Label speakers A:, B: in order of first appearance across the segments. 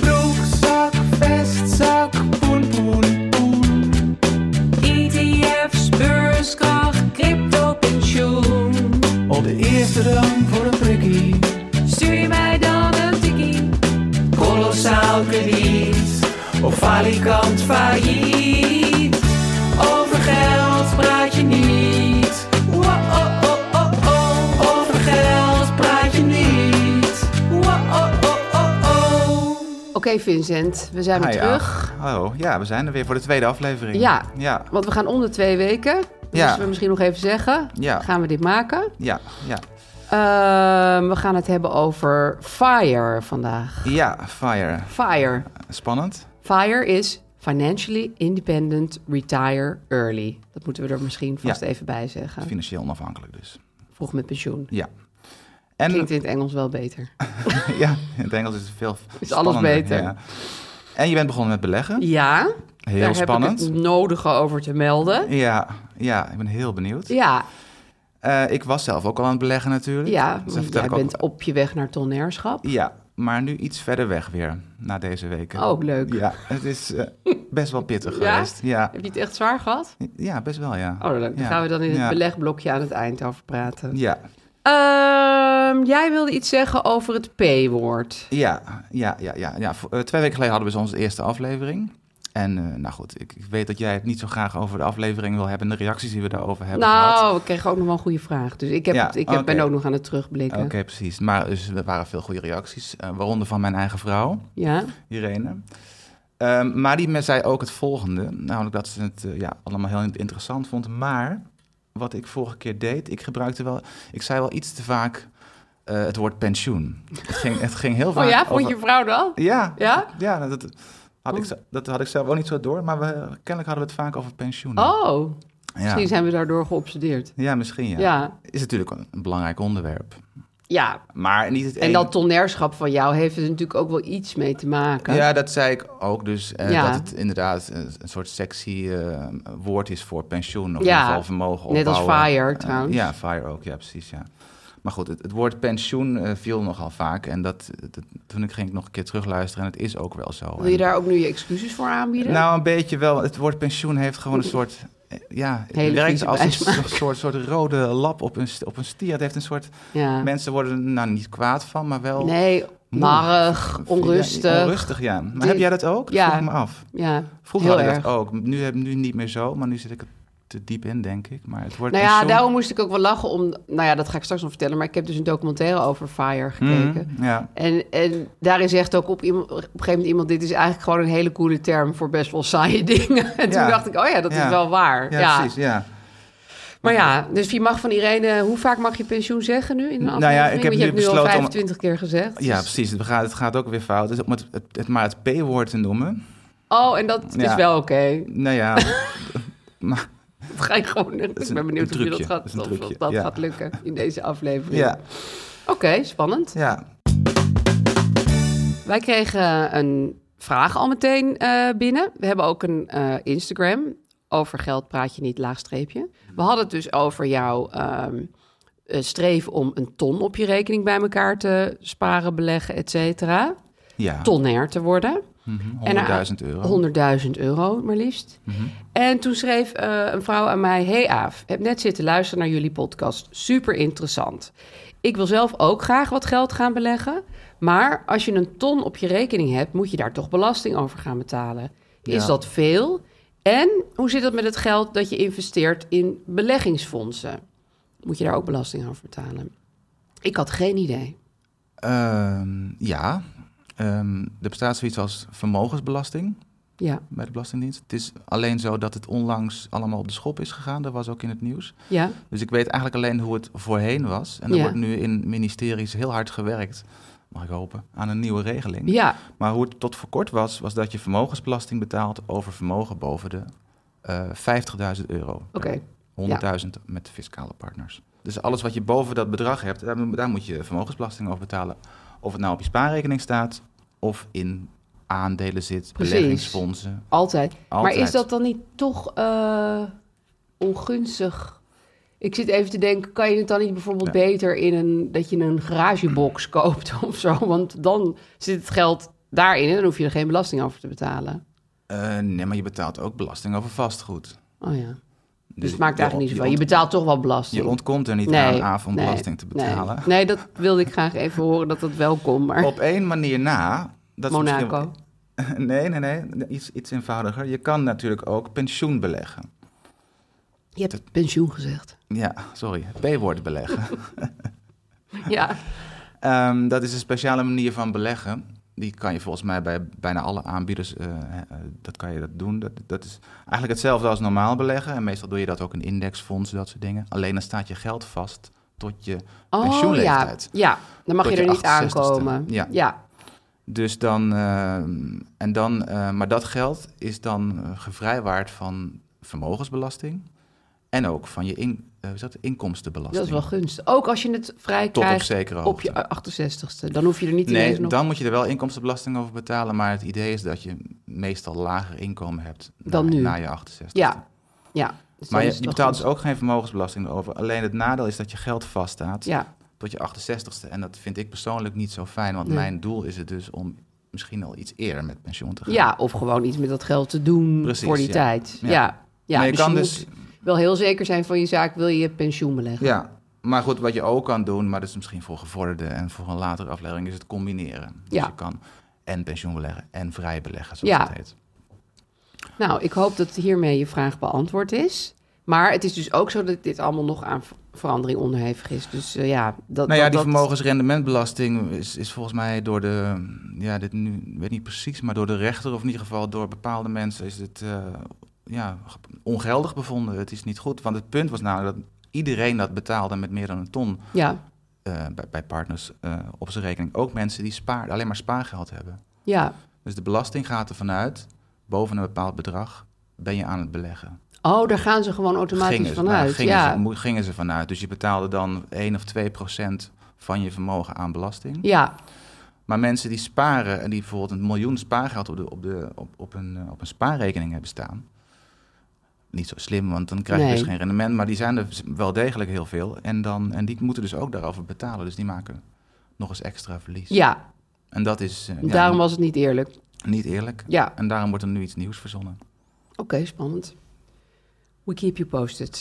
A: Broekzak, vestzak, poen, poen, poen. E ETF's, beurskracht, crypto, pensioen.
B: Op de eerste rang voor een prikkie.
A: Stuur je mij dan een tikkie? Kolossaal krediet. Of falikant failliet. Over geld praat je niet. oh, Wow-oh-oh-oh-oh. oh. Over geld praat je niet. oh, Wow-oh-oh-oh-oh.
C: Oké Vincent, we zijn weer
D: Hi, ja.
C: terug.
D: Hallo, ja, we zijn er weer voor de tweede aflevering.
C: Ja.
D: Ja,
C: Want we gaan om de twee weken.
D: Ja.
C: Moeten we misschien nog even zeggen.
D: Ja.
C: Gaan we dit maken?
D: ja, ja.
C: Ehm, we gaan het hebben over fire vandaag.
D: Ja, fire.
C: Fire.
D: Spannend.
C: Fire is financially independent, retire early. Dat moeten we er misschien vast
D: Ja.
C: even bij zeggen.
D: Financieel onafhankelijk dus.
C: Vroeg met pensioen.
D: Ja. En
C: Klinkt in het Engels wel beter.
D: ja, in het Engels is het veel
C: Is alles
D: spannender,
C: beter.
D: ja. En je bent begonnen met beleggen.
C: Ja,
D: Heel
C: daar
D: spannend.
C: heb ik het nodige over te melden.
D: Ja, ja, ik ben heel benieuwd.
C: Ja,
D: Eh, ik was zelf ook al aan het beleggen natuurlijk.
C: ja
D: Dus dat
C: want
D: vertel
C: jij
D: ik ook-
C: bent op je weg naar toneerschap.
D: Ja, maar nu iets verder weg weer, na deze weken.
C: Oh, leuk.
D: Ja, het is eh, best wel pittig
C: Ja?
D: geweest. Ja.
C: Heb je het echt zwaar gehad?
D: ja, best wel, ja.
C: Oh, leuk. Daar
D: Ja.
C: gaan we dan in het
D: Ja.
C: belegblokje aan het eind over praten.
D: Ja,
C: Ehm, jij wilde iets zeggen over het P-woord.
D: Ja, ja, ja, ja. ja. Vo- eh, twee weken geleden hadden we onze eerste aflevering. En eh, nou goed, ik, ik weet dat jij het niet zo graag over de aflevering wil hebben en de reacties die we daarover hebben gehad.
C: Nou, we kregen ook nog wel een goede vraag. Dus ik, heb
D: Ja,
C: het, ik heb,
D: oké.
C: ben ook nog aan het terugblikken.
D: Oké, precies. Maar dus, er waren veel goede reacties, eh, waaronder van mijn eigen vrouw,
C: Ja.
D: Irene. Ehm, maar die me- zei ook het volgende, namelijk dat ze het eh, ja, allemaal heel interessant vond. Maar wat ik vorige keer deed, ik gebruikte wel, ik zei wel iets te vaak eh, het woord pensioen. Het ging, het ging heel vaak
C: Oh ja, vond
D: over-
C: je vrouw dat?
D: Ja.
C: Ja?
D: Ja, dat, dat had ik, ze- dat had ik zelf ook niet zo door, maar we, kennelijk hadden we het vaak over pensioenen.
C: Oh,
D: ja.
C: misschien zijn we daardoor geobsedeerd.
D: Ja, misschien ja.
C: Ja.
D: Is natuurlijk een, een belangrijk onderwerp.
C: Ja,
D: Maar niet het
C: en
D: een-
C: dat tonerschap van jou heeft er natuurlijk ook wel iets mee te maken.
D: Ja, dat zei ik ook. Dus eh,
C: Ja.
D: dat het inderdaad een, een soort sexy eh, woord is voor pensioen. Of
C: Ja.
D: in ieder geval vermogen
C: Net als
D: opbouwen.
C: fire,
D: Eh,
C: trouwens.
D: ja, fire ook. Ja, precies. Ja. Maar goed, het, het woord pensioen eh, viel nogal vaak. En dat, dat, toen ik ging ik nog een keer terugluisteren. En het is ook wel zo.
C: Wil je
D: En-
C: daar ook nu je excuses voor aanbieden?
D: Nou, een beetje wel. Het woord pensioen heeft gewoon een soort... eh, Ja, het
C: Hele
D: werkt
C: vieze
D: als een
C: bijsmaak.
D: soort, soort, soort rode lap op een, st- op een stier. Het heeft een soort...
C: ja.
D: Mensen worden er nou niet kwaad van, maar wel...
C: Nee,
D: moe.
C: marrig, onrustig.
D: Ja, onrustig, ja. Maar
C: Dit-
D: heb jij dat ook? Dat
C: Ja.
D: vroeg ik me af.
C: Ja,
D: Vroeger
C: heel
D: had ik
C: erg.
D: dat ook. Nu, heb, nu niet meer zo, maar nu zit ik er te diep in, denk ik. Maar het woord
C: Nou ja,
D: pensioen...
C: daarom moest ik ook wel lachen om... Nou ja, dat ga ik straks nog vertellen. Maar ik heb dus een documentaire over Fire gekeken.
D: Mm, ja.
C: En, en daarin zegt ook op, iemand, op een gegeven moment iemand... dit is eigenlijk gewoon een hele coole term voor best wel saaie dingen. En toen
D: Ja.
C: dacht ik, oh ja, dat is
D: Ja.
C: wel waar.
D: Ja,
C: Ja,
D: precies, ja.
C: Maar ja, dus je mag van Irene... Hoe vaak mag je pensioen zeggen nu in een
D: Nou ja,
C: aflevering?
D: ik heb
C: Want je
D: nu
C: hebt nu al
D: besloten om-
C: 25 keer gezegd.
D: Ja,
C: Dus-
D: precies. Het gaat, het gaat ook weer fout. Dus om het, het, het maar het P-woord te noemen.
C: Oh, en dat is
D: Ja.
C: wel oké.
D: Nou ja,
C: Dat ga ik gewoon... Ik
D: een-
C: ben benieuwd
D: een
C: of je dat
D: trucje.
C: gaat,
D: Dat is een
C: of
D: trucje,
C: dat
D: ja.
C: gaat lukken in deze aflevering.
D: ja,
C: Oké, spannend.
D: ja.
C: Wij kregen een vraag al meteen eh, binnen. We hebben ook een eh, Instagram. Over geld praat je niet, laagstreepje. We hadden het dus over jouw ehm, eh, streven om een ton op je rekening bij elkaar te sparen, beleggen, et cetera.
D: ja.
C: Tonair te worden. En er-
D: 100.000 Mhm, euro. Mhm.
C: 100.000 euro, maar liefst. En toen schreef eh, een vrouw aan mij... Hey Aaf, heb net zitten luisteren naar jullie podcast. Super interessant. Ik wil zelf ook graag wat geld gaan beleggen. Maar als je een ton op je rekening hebt... moet je daar toch belasting over gaan betalen. Is
D: Ja.
C: dat veel? En hoe zit het met het geld dat je investeert in beleggingsfondsen? Moet je daar ook belasting over betalen? Ik had geen idee.
D: Ehm, ja, Ehm, er bestaat zoiets als vermogensbelasting
C: Ja,
D: bij de Belastingdienst. Het is alleen zo dat het onlangs allemaal op de schop is gegaan. Dat was ook in het nieuws.
C: ja.
D: Dus ik weet eigenlijk alleen hoe het voorheen was. En er
C: Ja.
D: wordt nu in ministeries heel hard gewerkt, mag ik hopen, aan een nieuwe regeling.
C: ja.
D: Maar hoe het tot voor kort was, was dat je vermogensbelasting betaalt over vermogen boven de eh, 50.000 euro.
C: oké.
D: 100.000 met fiscale partners. Dus alles wat je boven dat bedrag hebt, daar, daar moet je vermogensbelasting over betalen. Of het nou op je spaarrekening staat of in aandelen zit,
C: Precies.
D: beleggingsfondsen.
C: Altijd.
D: Altijd.
C: Maar is dat dan niet toch eh, ongunstig? Ik zit even te denken, kan je het dan niet bijvoorbeeld
D: Ja.
C: beter in een dat je een garagebox koopt of zo? Want dan zit het geld daarin en dan hoef je er geen belasting over te betalen.
D: Eh, nee, maar je betaalt ook belasting over vastgoed.
C: Oh ja. Dus,
D: Dus
C: het maakt
D: je
C: eigenlijk niet
D: ont-
C: zoveel. Je
D: ont-
C: betaalt toch wel belasting.
D: Je ontkomt er niet aan, aan van
C: nee,
D: belasting te
C: nee.
D: betalen.
C: Nee, dat wilde ik graag even horen dat dat wel kon. Maar
D: Op één manier na. Dat is
C: Monaco.
D: misschien- Nee, nee, nee. Iets, iets eenvoudiger. Je kan natuurlijk ook pensioen beleggen.
C: Je hebt pensioen gezegd.
D: Ja, sorry. Het P-woord beleggen.
C: Ja.
D: Ehm, dat is een speciale manier van beleggen. Die kan je volgens mij bij bijna alle aanbieders, eh, eh, dat kan je dat doen. Dat, dat is eigenlijk hetzelfde als normaal beleggen. En meestal doe je dat ook in indexfondsen, dat soort dingen. Alleen dan staat je geld vast tot je
C: Oh ja.
D: pensioenleeftijd.
C: Ja. Dan mag
D: Tot
C: je er
D: je
C: niet
D: 68ste.
C: aankomen.
D: Ja.
C: ja.
D: Dus dan, ehm, en dan, eh, maar dat geld is dan eh, gevrijwaard van vermogensbelasting. En ook van je in, eh, hoe is dat, inkomstenbelasting.
C: Dat is wel gunstig. Ook als je het vrij
D: op
C: krijgt
D: zekere
C: op je 68ste. Dan hoef je er niet ineens
D: Nee,
C: nog...
D: dan moet je er wel inkomstenbelasting over betalen. Maar het idee is dat je meestal lager inkomen hebt
C: Dan
D: na,
C: nu.
D: na je 68.
C: Ja, ja.
D: Maar
C: Dus dan
D: je,
C: is het
D: je
C: wel
D: betaalt dus
C: goed.
D: ook geen vermogensbelasting over. Alleen het nadeel is dat je geld vaststaat
C: Ja,
D: tot je 68ste. En dat vind ik persoonlijk niet zo fijn. Want
C: Nee.
D: mijn doel is het dus om misschien al iets eerder met pensioen te gaan.
C: ja, of gewoon iets met dat geld te doen
D: Precies,
C: voor die
D: ja.
C: tijd.
D: Ja.
C: Ja, ja.
D: Maar je
C: dus
D: kan
C: je
D: dus-
C: moet wel heel zeker zijn van je zaak, wil je je pensioen beleggen.
D: ja. Maar goed, wat je ook kan doen, maar dat is misschien voor gevorderde en voor een latere aflevering, is het combineren. Dus
C: Ja.
D: je kan en pensioen beleggen en vrij beleggen, zoals
C: Ja.
D: het heet.
C: Nou, ik hoop dat hiermee je vraag beantwoord is. Maar het is dus ook zo dat dit allemaal nog aan ver- verandering onderhevig is. Dus eh, ja, dat...
D: Nou ja,
C: dat-
D: die
C: dat-
D: vermogensrendementbelasting is, is volgens mij door de, ja, dit nu, ik weet niet precies, maar door de rechter of in ieder geval door bepaalde mensen is het eh, ja, ge- ongeldig bevonden. Het is niet goed, want het punt was namelijk dat iedereen dat betaalde met meer dan een ton
C: Ja,
D: eh, bij, bij partners eh, op zijn rekening. Ook mensen die spaar, alleen maar spaargeld hebben.
C: ja.
D: Dus de belasting gaat ervan uit, boven een bepaald bedrag ben je aan het beleggen.
C: Oh, daar gaan ze gewoon automatisch
D: Gingen ze- nou,
C: vanuit.
D: gingen,
C: ja.
D: ze, mo- gingen ze vanuit. Dus je betaalde dan 1 of 2 procent van je vermogen aan belasting.
C: ja,
D: Maar mensen die sparen en die bijvoorbeeld een miljoen spaargeld op, de, op, de, op, op, een, eh, op een spaarrekening hebben staan. Niet zo slim, want dan krijg je
C: Nee.
D: dus geen rendement. Maar die zijn er wel degelijk heel veel. En, dan, en die moeten dus ook daarover betalen. Dus die maken nog eens extra verlies.
C: ja.
D: En dat is eh, ja,
C: Daarom was het niet eerlijk.
D: niet eerlijk.
C: Ja.
D: En daarom wordt er nu iets nieuws verzonnen.
C: Oké, spannend. We keep you posted.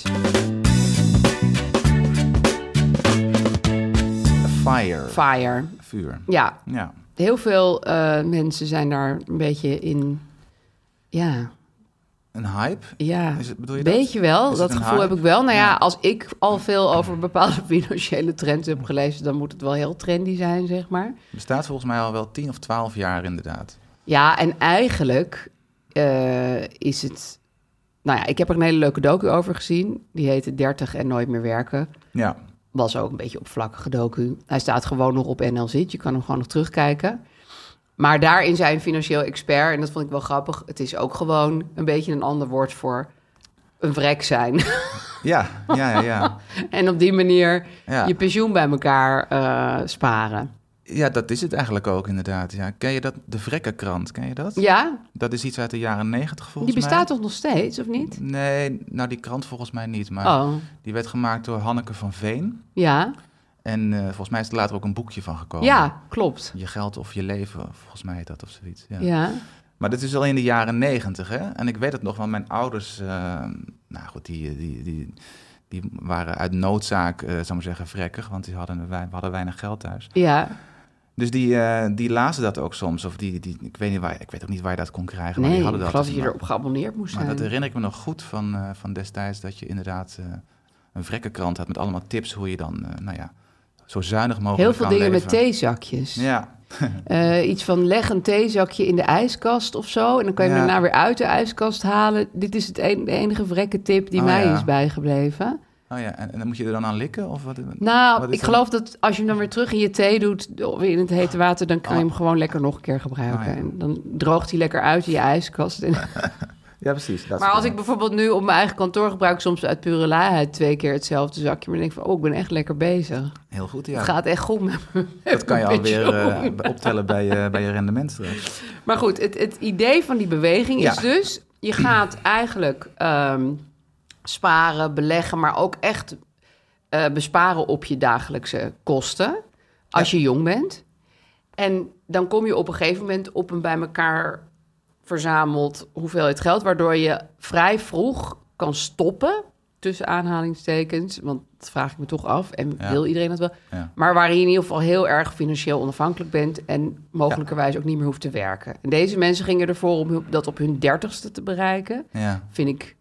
D: Fire.
C: Fire.
D: Vuur.
C: Ja,
D: Ja.
C: heel veel eh, mensen zijn daar een beetje in. Ja,
D: Een hype?
C: ja.
D: Is het- bedoel je dat?
C: Weet je wel,
D: Is
C: dat
D: het een
C: gevoel heb
D: hype?
C: ik wel. Nou ja,
D: Ja.
C: als ik al veel over bepaalde financiële trends heb gelezen, dan moet het wel heel trendy zijn, zeg maar.
D: Bestaat volgens mij al wel 10 of 12 jaar inderdaad.
C: Ja, en eigenlijk eh, is het. Nou ja, ik heb er een hele leuke docu over gezien. Die heette 30 en nooit meer werken.
D: Ja.
C: was ook een beetje oppervlakkige docu. Hij staat gewoon nog op NLZ. Je kan hem gewoon nog terugkijken. Maar daarin zijn een financieel expert, en dat vond ik wel grappig. Het is ook gewoon een beetje een ander woord voor een vrek zijn.
D: Ja, ja, ja. ja.
C: en op die manier
D: Ja.
C: je pensioen bij elkaar eh, sparen.
D: Ja, dat is het eigenlijk ook inderdaad. Ja. Ken je dat? De Vrekkenkrant, ken je dat?
C: Ja,
D: Dat is iets uit de jaren negentig volgens
C: die
D: mij.
C: bestaat toch nog steeds, of niet?
D: Nee, nou die krant volgens mij niet. Maar
C: Oh,
D: die werd gemaakt door Hanneke van Veen.
C: ja.
D: En eh, volgens mij is er later ook een boekje van gekomen.
C: Ja, klopt.
D: Je geld of je leven, volgens mij heet dat of zoiets. Ja.
C: Ja.
D: Maar dit is al in de jaren negentig, hè? En ik weet het nog, want mijn ouders... eh, nou goed, die, die, die, die waren uit noodzaak, eh zou ik maar zeggen, vrekkig. Want die hadden, wij hadden weinig geld thuis.
C: ja.
D: Dus die, eh, die lazen dat ook soms. Of die, die, ik, weet niet waar, ik weet ook niet waar je dat kon krijgen. maar
C: Nee,
D: die
C: ik
D: hadden
C: geloof
D: dat.
C: dat je
D: Maar-
C: erop geabonneerd moest
D: maar
C: zijn.
D: dat herinner ik me nog goed van, eh, van destijds. Dat je inderdaad eh, een vrekkenkrant had met allemaal tips hoe je dan, eh, nou ja, zo zuinig mogelijk
C: Heel veel
D: kan
C: dingen met
D: leven.
C: theezakjes.
D: Ja,
C: Eh, iets van leg een theezakje in de ijskast of zo. En dan kan je hem
D: Ja.
C: daarna weer uit de ijskast halen. Dit is het een- de enige vrekke tip die
D: Oh,
C: mij
D: ja.
C: is bijgebleven.
D: oh ja. En, en dan moet je er dan aan likken? Of wat?
C: Nou,
D: Wat
C: ik
D: is dat?
C: geloof dat als je hem dan weer terug in je thee doet of in het hete water, dan kan je hem gewoon lekker nog een keer gebruiken.
D: Oh, ja.
C: En dan droogt hij lekker uit in je ijskast. En-
D: Ja, precies. dat is
C: Maar als
D: het.
C: ik bijvoorbeeld nu op mijn eigen kantoor gebruik, soms uit pure laaiheid twee keer hetzelfde zakje, maar dan denk ik van, oh, ik ben echt lekker bezig.
D: Heel goed, ja.
C: Het gaat echt goed met me.
D: dat kan je
C: Met
D: alweer
C: pensioen.
D: eh, bij- optellen bij, je- bij je rendement straks.
C: Maar goed, het, het idee van die beweging is
D: Ja.
C: dus... je gaat eigenlijk ehm, sparen, beleggen... maar ook echt eh, besparen op je dagelijkse kosten... als je jong bent. En dan kom je op een gegeven moment op een bij elkaar verzameld hoeveelheid geld... waardoor je vrij vroeg kan stoppen, tussen aanhalingstekens... want dat vraag ik me toch af en
D: Ja.
C: wil iedereen dat wel...
D: Ja.
C: Maar waar je in ieder geval heel erg financieel onafhankelijk bent en mogelijkerwijs ook niet meer hoeft te werken. En deze mensen gingen ervoor om hu- dat op hun dertigste te bereiken.
D: Ja,
C: Vind ik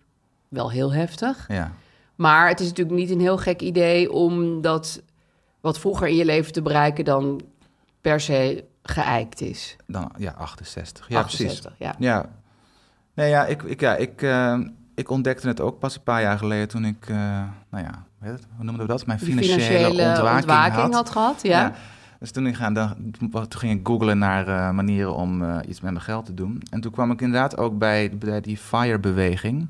C: wel heel heftig.
D: ja.
C: Maar het is natuurlijk niet een heel gek idee om dat wat vroeger in je leven te bereiken dan per se geëikt is.
D: Dan, ja 68. Ja, precies.
C: 68, Ja.
D: Ja. Nee, ja, ik, ik, ja, ik, eh, ik ontdekte het ook pas een paar jaar geleden toen ik, eh, nou ja, hoe heet het? hoe noemen we dat? Mijn
C: Die
D: financiële, ontwaking, had.
C: gehad. Ja.
D: Ja. Dus toen, ik ga, dan, toen ging ik googlen naar eh, manieren om eh, iets met mijn geld te doen. En toen kwam ik inderdaad ook bij, bij die FIRE-beweging.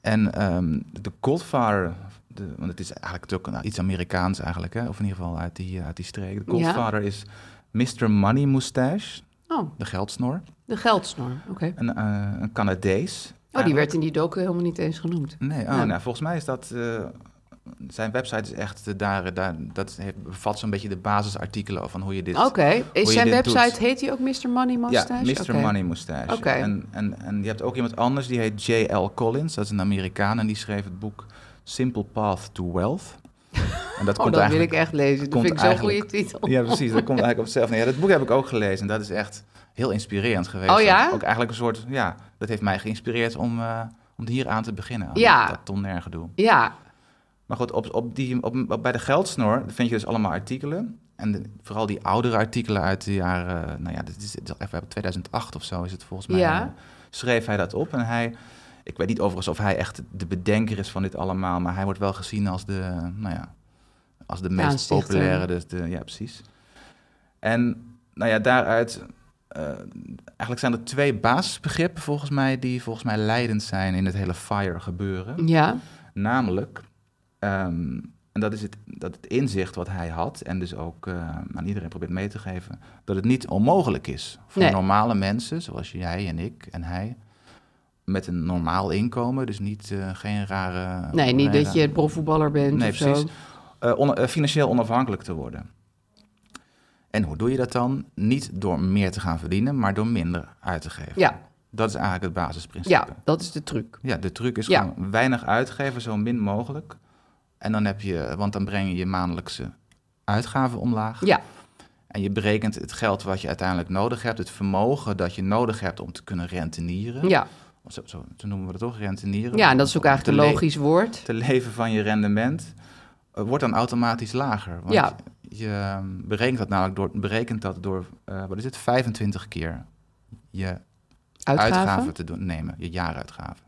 D: En ehm de Godfather, de, want het is eigenlijk ook nou, iets Amerikaans eigenlijk, hè? of in ieder geval uit die, eh, uit die streek. De
C: Ja.
D: Godfather is Mr. Money Moustache,
C: Oh,
D: de geldsnor.
C: de geldsnor. Oké.
D: Een, eh, een Canadees.
C: Oh, die werd in die docu helemaal niet eens genoemd.
D: Nee, oh,
C: Ja.
D: nou, volgens mij is dat... eh, zijn website is echt eh, daar, daar... Dat heeft- bevat zo'n beetje de basisartikelen van hoe je dit...
C: Oké.
D: je
C: Is zijn
D: dit
C: website,
D: doet.
C: heet hij ook Mr. Money Mustache?
D: Ja, Mr.
C: Oké.
D: Money Mustache.
C: Oké.
D: En, en, en je hebt ook iemand anders, die heet J.L. Collins. Dat is een Amerikaan en die schreef het boek Simple Path to Wealth. En dat
C: Oh,
D: komt
C: dat wil
D: eigenlijk...
C: ik echt lezen. Dat
D: komt
C: vind ik zo'n goede
D: eigenlijk-
C: titel.
D: Ja, precies. Dat komt eigenlijk op zelf. Nee, ja, dat boek heb ik ook gelezen en dat is echt heel inspirerend geweest.
C: Oh ja?
D: Ook, ook eigenlijk een soort... Ja, dat heeft mij geïnspireerd om, eh, om hier aan te beginnen. aan
C: Ja.
D: Dat ton nergedoe.
C: Ja,
D: Maar goed, op, op die, op, op- bij de geldsnor vind je dus allemaal artikelen. En de- vooral die oudere artikelen uit de jaren... eh, Nou ja, dit is, dit is echt wel 2008 of zo is het volgens mij.
C: Ja.
D: eh, Schreef hij dat op en hij... Ik weet niet overigens of hij echt de bedenker is van dit allemaal... maar hij wordt wel gezien als de, eh, nou ja, als de meest
C: aanstichter.
D: populaire. Dus de, ja, precies. En nou ja, daaruit... eh, eigenlijk zijn er twee basisbegrippen volgens mij... die volgens mij leidend zijn in het hele FIRE-gebeuren.
C: ja,
D: Namelijk, ehm, en dat is het, dat het inzicht wat hij had, en dus ook eh, aan iedereen probeert mee te geven, dat het niet onmogelijk is voor
C: Nee.
D: normale mensen, zoals jij en ik en hij, met een normaal inkomen, dus niet, eh, geen rare.
C: nee, niet
D: rare-
C: dat je profvoetballer bent
D: Nee,
C: of zo.
D: precies. eh, on- eh, financieel onafhankelijk te worden. En hoe doe je dat dan? Niet door meer te gaan verdienen, maar door minder uit te geven.
C: Ja,
D: Dat is eigenlijk het basisprincipe.
C: ja, dat is de truc.
D: Ja, de truc is
C: Ja.
D: gewoon weinig uitgeven, zo min mogelijk. En dan heb je, want dan breng je je maandelijkse uitgaven omlaag.
C: Ja,
D: En je berekent het geld wat je uiteindelijk nodig hebt, het vermogen dat je nodig hebt om te kunnen rentenieren.
C: ja.
D: Zo, zo, zo noemen we dat toch, rentenieren.
C: ja en dat is ook
D: Om
C: eigenlijk
D: te
C: een
D: le-
C: logisch woord.
D: Te leven van je rendement eh, wordt dan automatisch lager. Want
C: Ja.
D: je ehm, berekent dat namelijk door, berekent dat door eh, wat is het, 25 keer je
C: Uitgaven.
D: uitgaven te doen, nemen, je jaaruitgaven.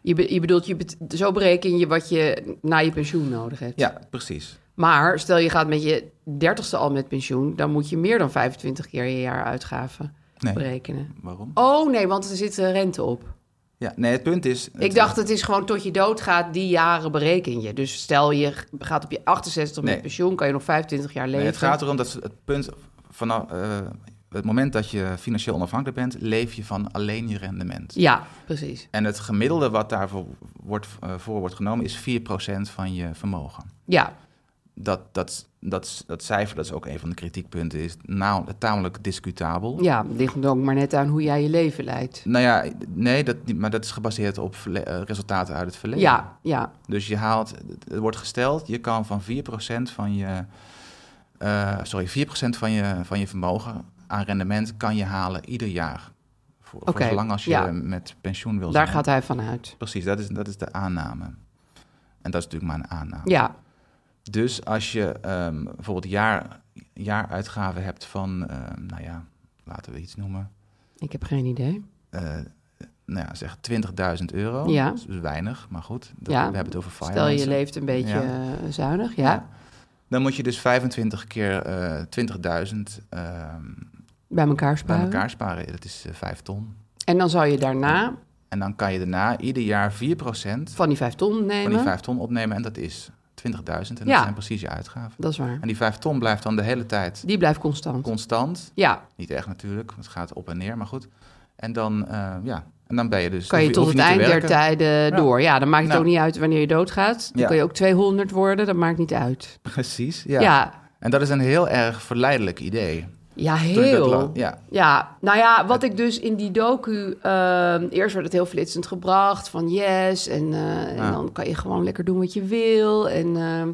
C: Je, be- je bedoelt, je bet- zo bereken je wat je na je pensioen nodig hebt.
D: Ja, precies.
C: Maar stel je gaat met je dertigste al met pensioen... dan moet je meer dan 25 keer je jaar uitgaven
D: Nee.
C: berekenen.
D: Waarom?
C: Oh nee, want er zit eh, rente op.
D: Ja, nee, het punt is... het-
C: Ik dacht, het is gewoon tot je doodgaat, die jaren bereken je. Dus stel je g- gaat op je 68
D: Nee.
C: met pensioen, kan je nog 25 jaar leven.
D: nee, het gaat erom dat ze- het punt vanaf eh, het moment dat je financieel onafhankelijk bent, leef je van alleen je rendement.
C: Ja, precies.
D: En het gemiddelde wat daarvoor wordt, eh, voor wordt genomen is 4% van je vermogen.
C: Ja,
D: dat, dat, dat, dat cijfer, dat is ook een van de kritiekpunten, is nou, tamelijk discutabel.
C: Ja, het ligt ook maar net aan hoe jij je leven leidt.
D: Nou ja, nee, dat, niet, maar dat is gebaseerd op verle- eh, resultaten uit het verleden.
C: Ja, ja.
D: Dus je haalt, het wordt gesteld, je kan van 4% van je, eh, sorry, 4% van je, van je vermogen aan rendement kan je halen ieder jaar. Voor, voor
C: Oké,
D: zolang als je
C: ja.
D: met pensioen wil
C: daar
D: zijn.
C: gaat hij vanuit.
D: Precies, dat is, dat is de aanname. En dat is natuurlijk maar een aanname.
C: Ja,
D: Dus als je ehm, bijvoorbeeld jaar, jaaruitgaven hebt van, ehm, nou ja, laten we iets noemen,
C: ik heb geen idee.
D: eh, nou ja, zeg 20.000 euro.
C: Ja.
D: Dat is weinig, maar goed. Dat,
C: Ja.
D: We hebben het over finance.
C: Stel je leeft een beetje
D: Ja.
C: eh, zuinig, ja,
D: Dan moet je dus 25 keer eh, 20.000 ehm,
C: bij elkaar
D: bij
C: sparen.
D: elkaar sparen. Dat is eh, 5 ton.
C: En dan zou je daarna
D: En dan kan je daarna ieder jaar 4% van
C: van die vijf ton nemen.
D: die 5 ton opnemen. En dat is 20.000. En dat
C: Ja.
D: zijn precies je uitgaven.
C: Dat is waar.
D: En die 5 ton blijft dan de hele tijd
C: Die blijft constant.
D: constant.
C: Ja,
D: Niet echt natuurlijk, want het gaat op en neer, maar goed. En dan, eh, ja. en dan ben je dus...
C: kan je
D: hoef
C: tot
D: hoef
C: het
D: niet te
C: eind der
D: werken.
C: tijden door. Ja, dan maakt het
D: Nou.
C: ook niet uit wanneer je doodgaat. Dan
D: Ja.
C: kun je ook 200 worden, dat maakt niet uit.
D: Precies, ja.
C: Ja, ja.
D: En dat is een heel erg verleidelijk idee. Toen ik dat
C: heel.
D: la- ja.
C: Ja, nou ja, wat ik dus in die docu... ehm, eerst werd het heel flitsend gebracht van yes... En, eh, en
D: Ja.
C: dan kan je gewoon lekker doen wat je wil en ehm,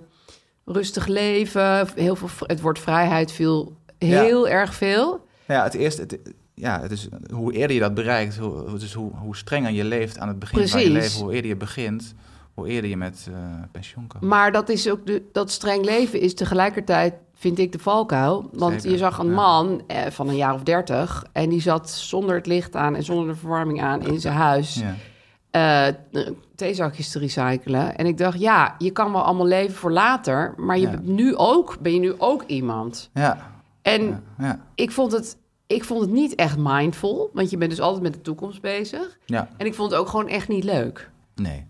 C: rustig leven. Heel veel, vri- het woord vrijheid viel heel erg veel.
D: Nou ja, het eerste, het, ja, het is, hoe eerder je dat bereikt, hoe, dus hoe, hoe strenger je leeft aan het begin van je
C: Precies.
D: leven, hoe eerder je begint, hoe eerder je met eh, pensioen kan.
C: Maar dat, is ook de, dat streng leven is tegelijkertijd, vind ik, de valkuil. Want
D: Zeker,
C: je zag een
D: ja.
C: man eh, van een jaar of dertig... en die zat zonder het licht aan en zonder de verwarming aan in zijn huis...
D: ja.
C: eh, theezakjes te recyclen. En ik dacht, ja, je kan wel allemaal leven voor later, maar je
D: Ja.
C: bent nu ook, ben je nu ook iemand.
D: Ja,
C: En
D: ja, ja,
C: ik, vond het, ik vond het niet echt mindful, want je bent dus altijd met de toekomst bezig.
D: ja,
C: En ik vond het ook gewoon echt niet leuk.
D: nee.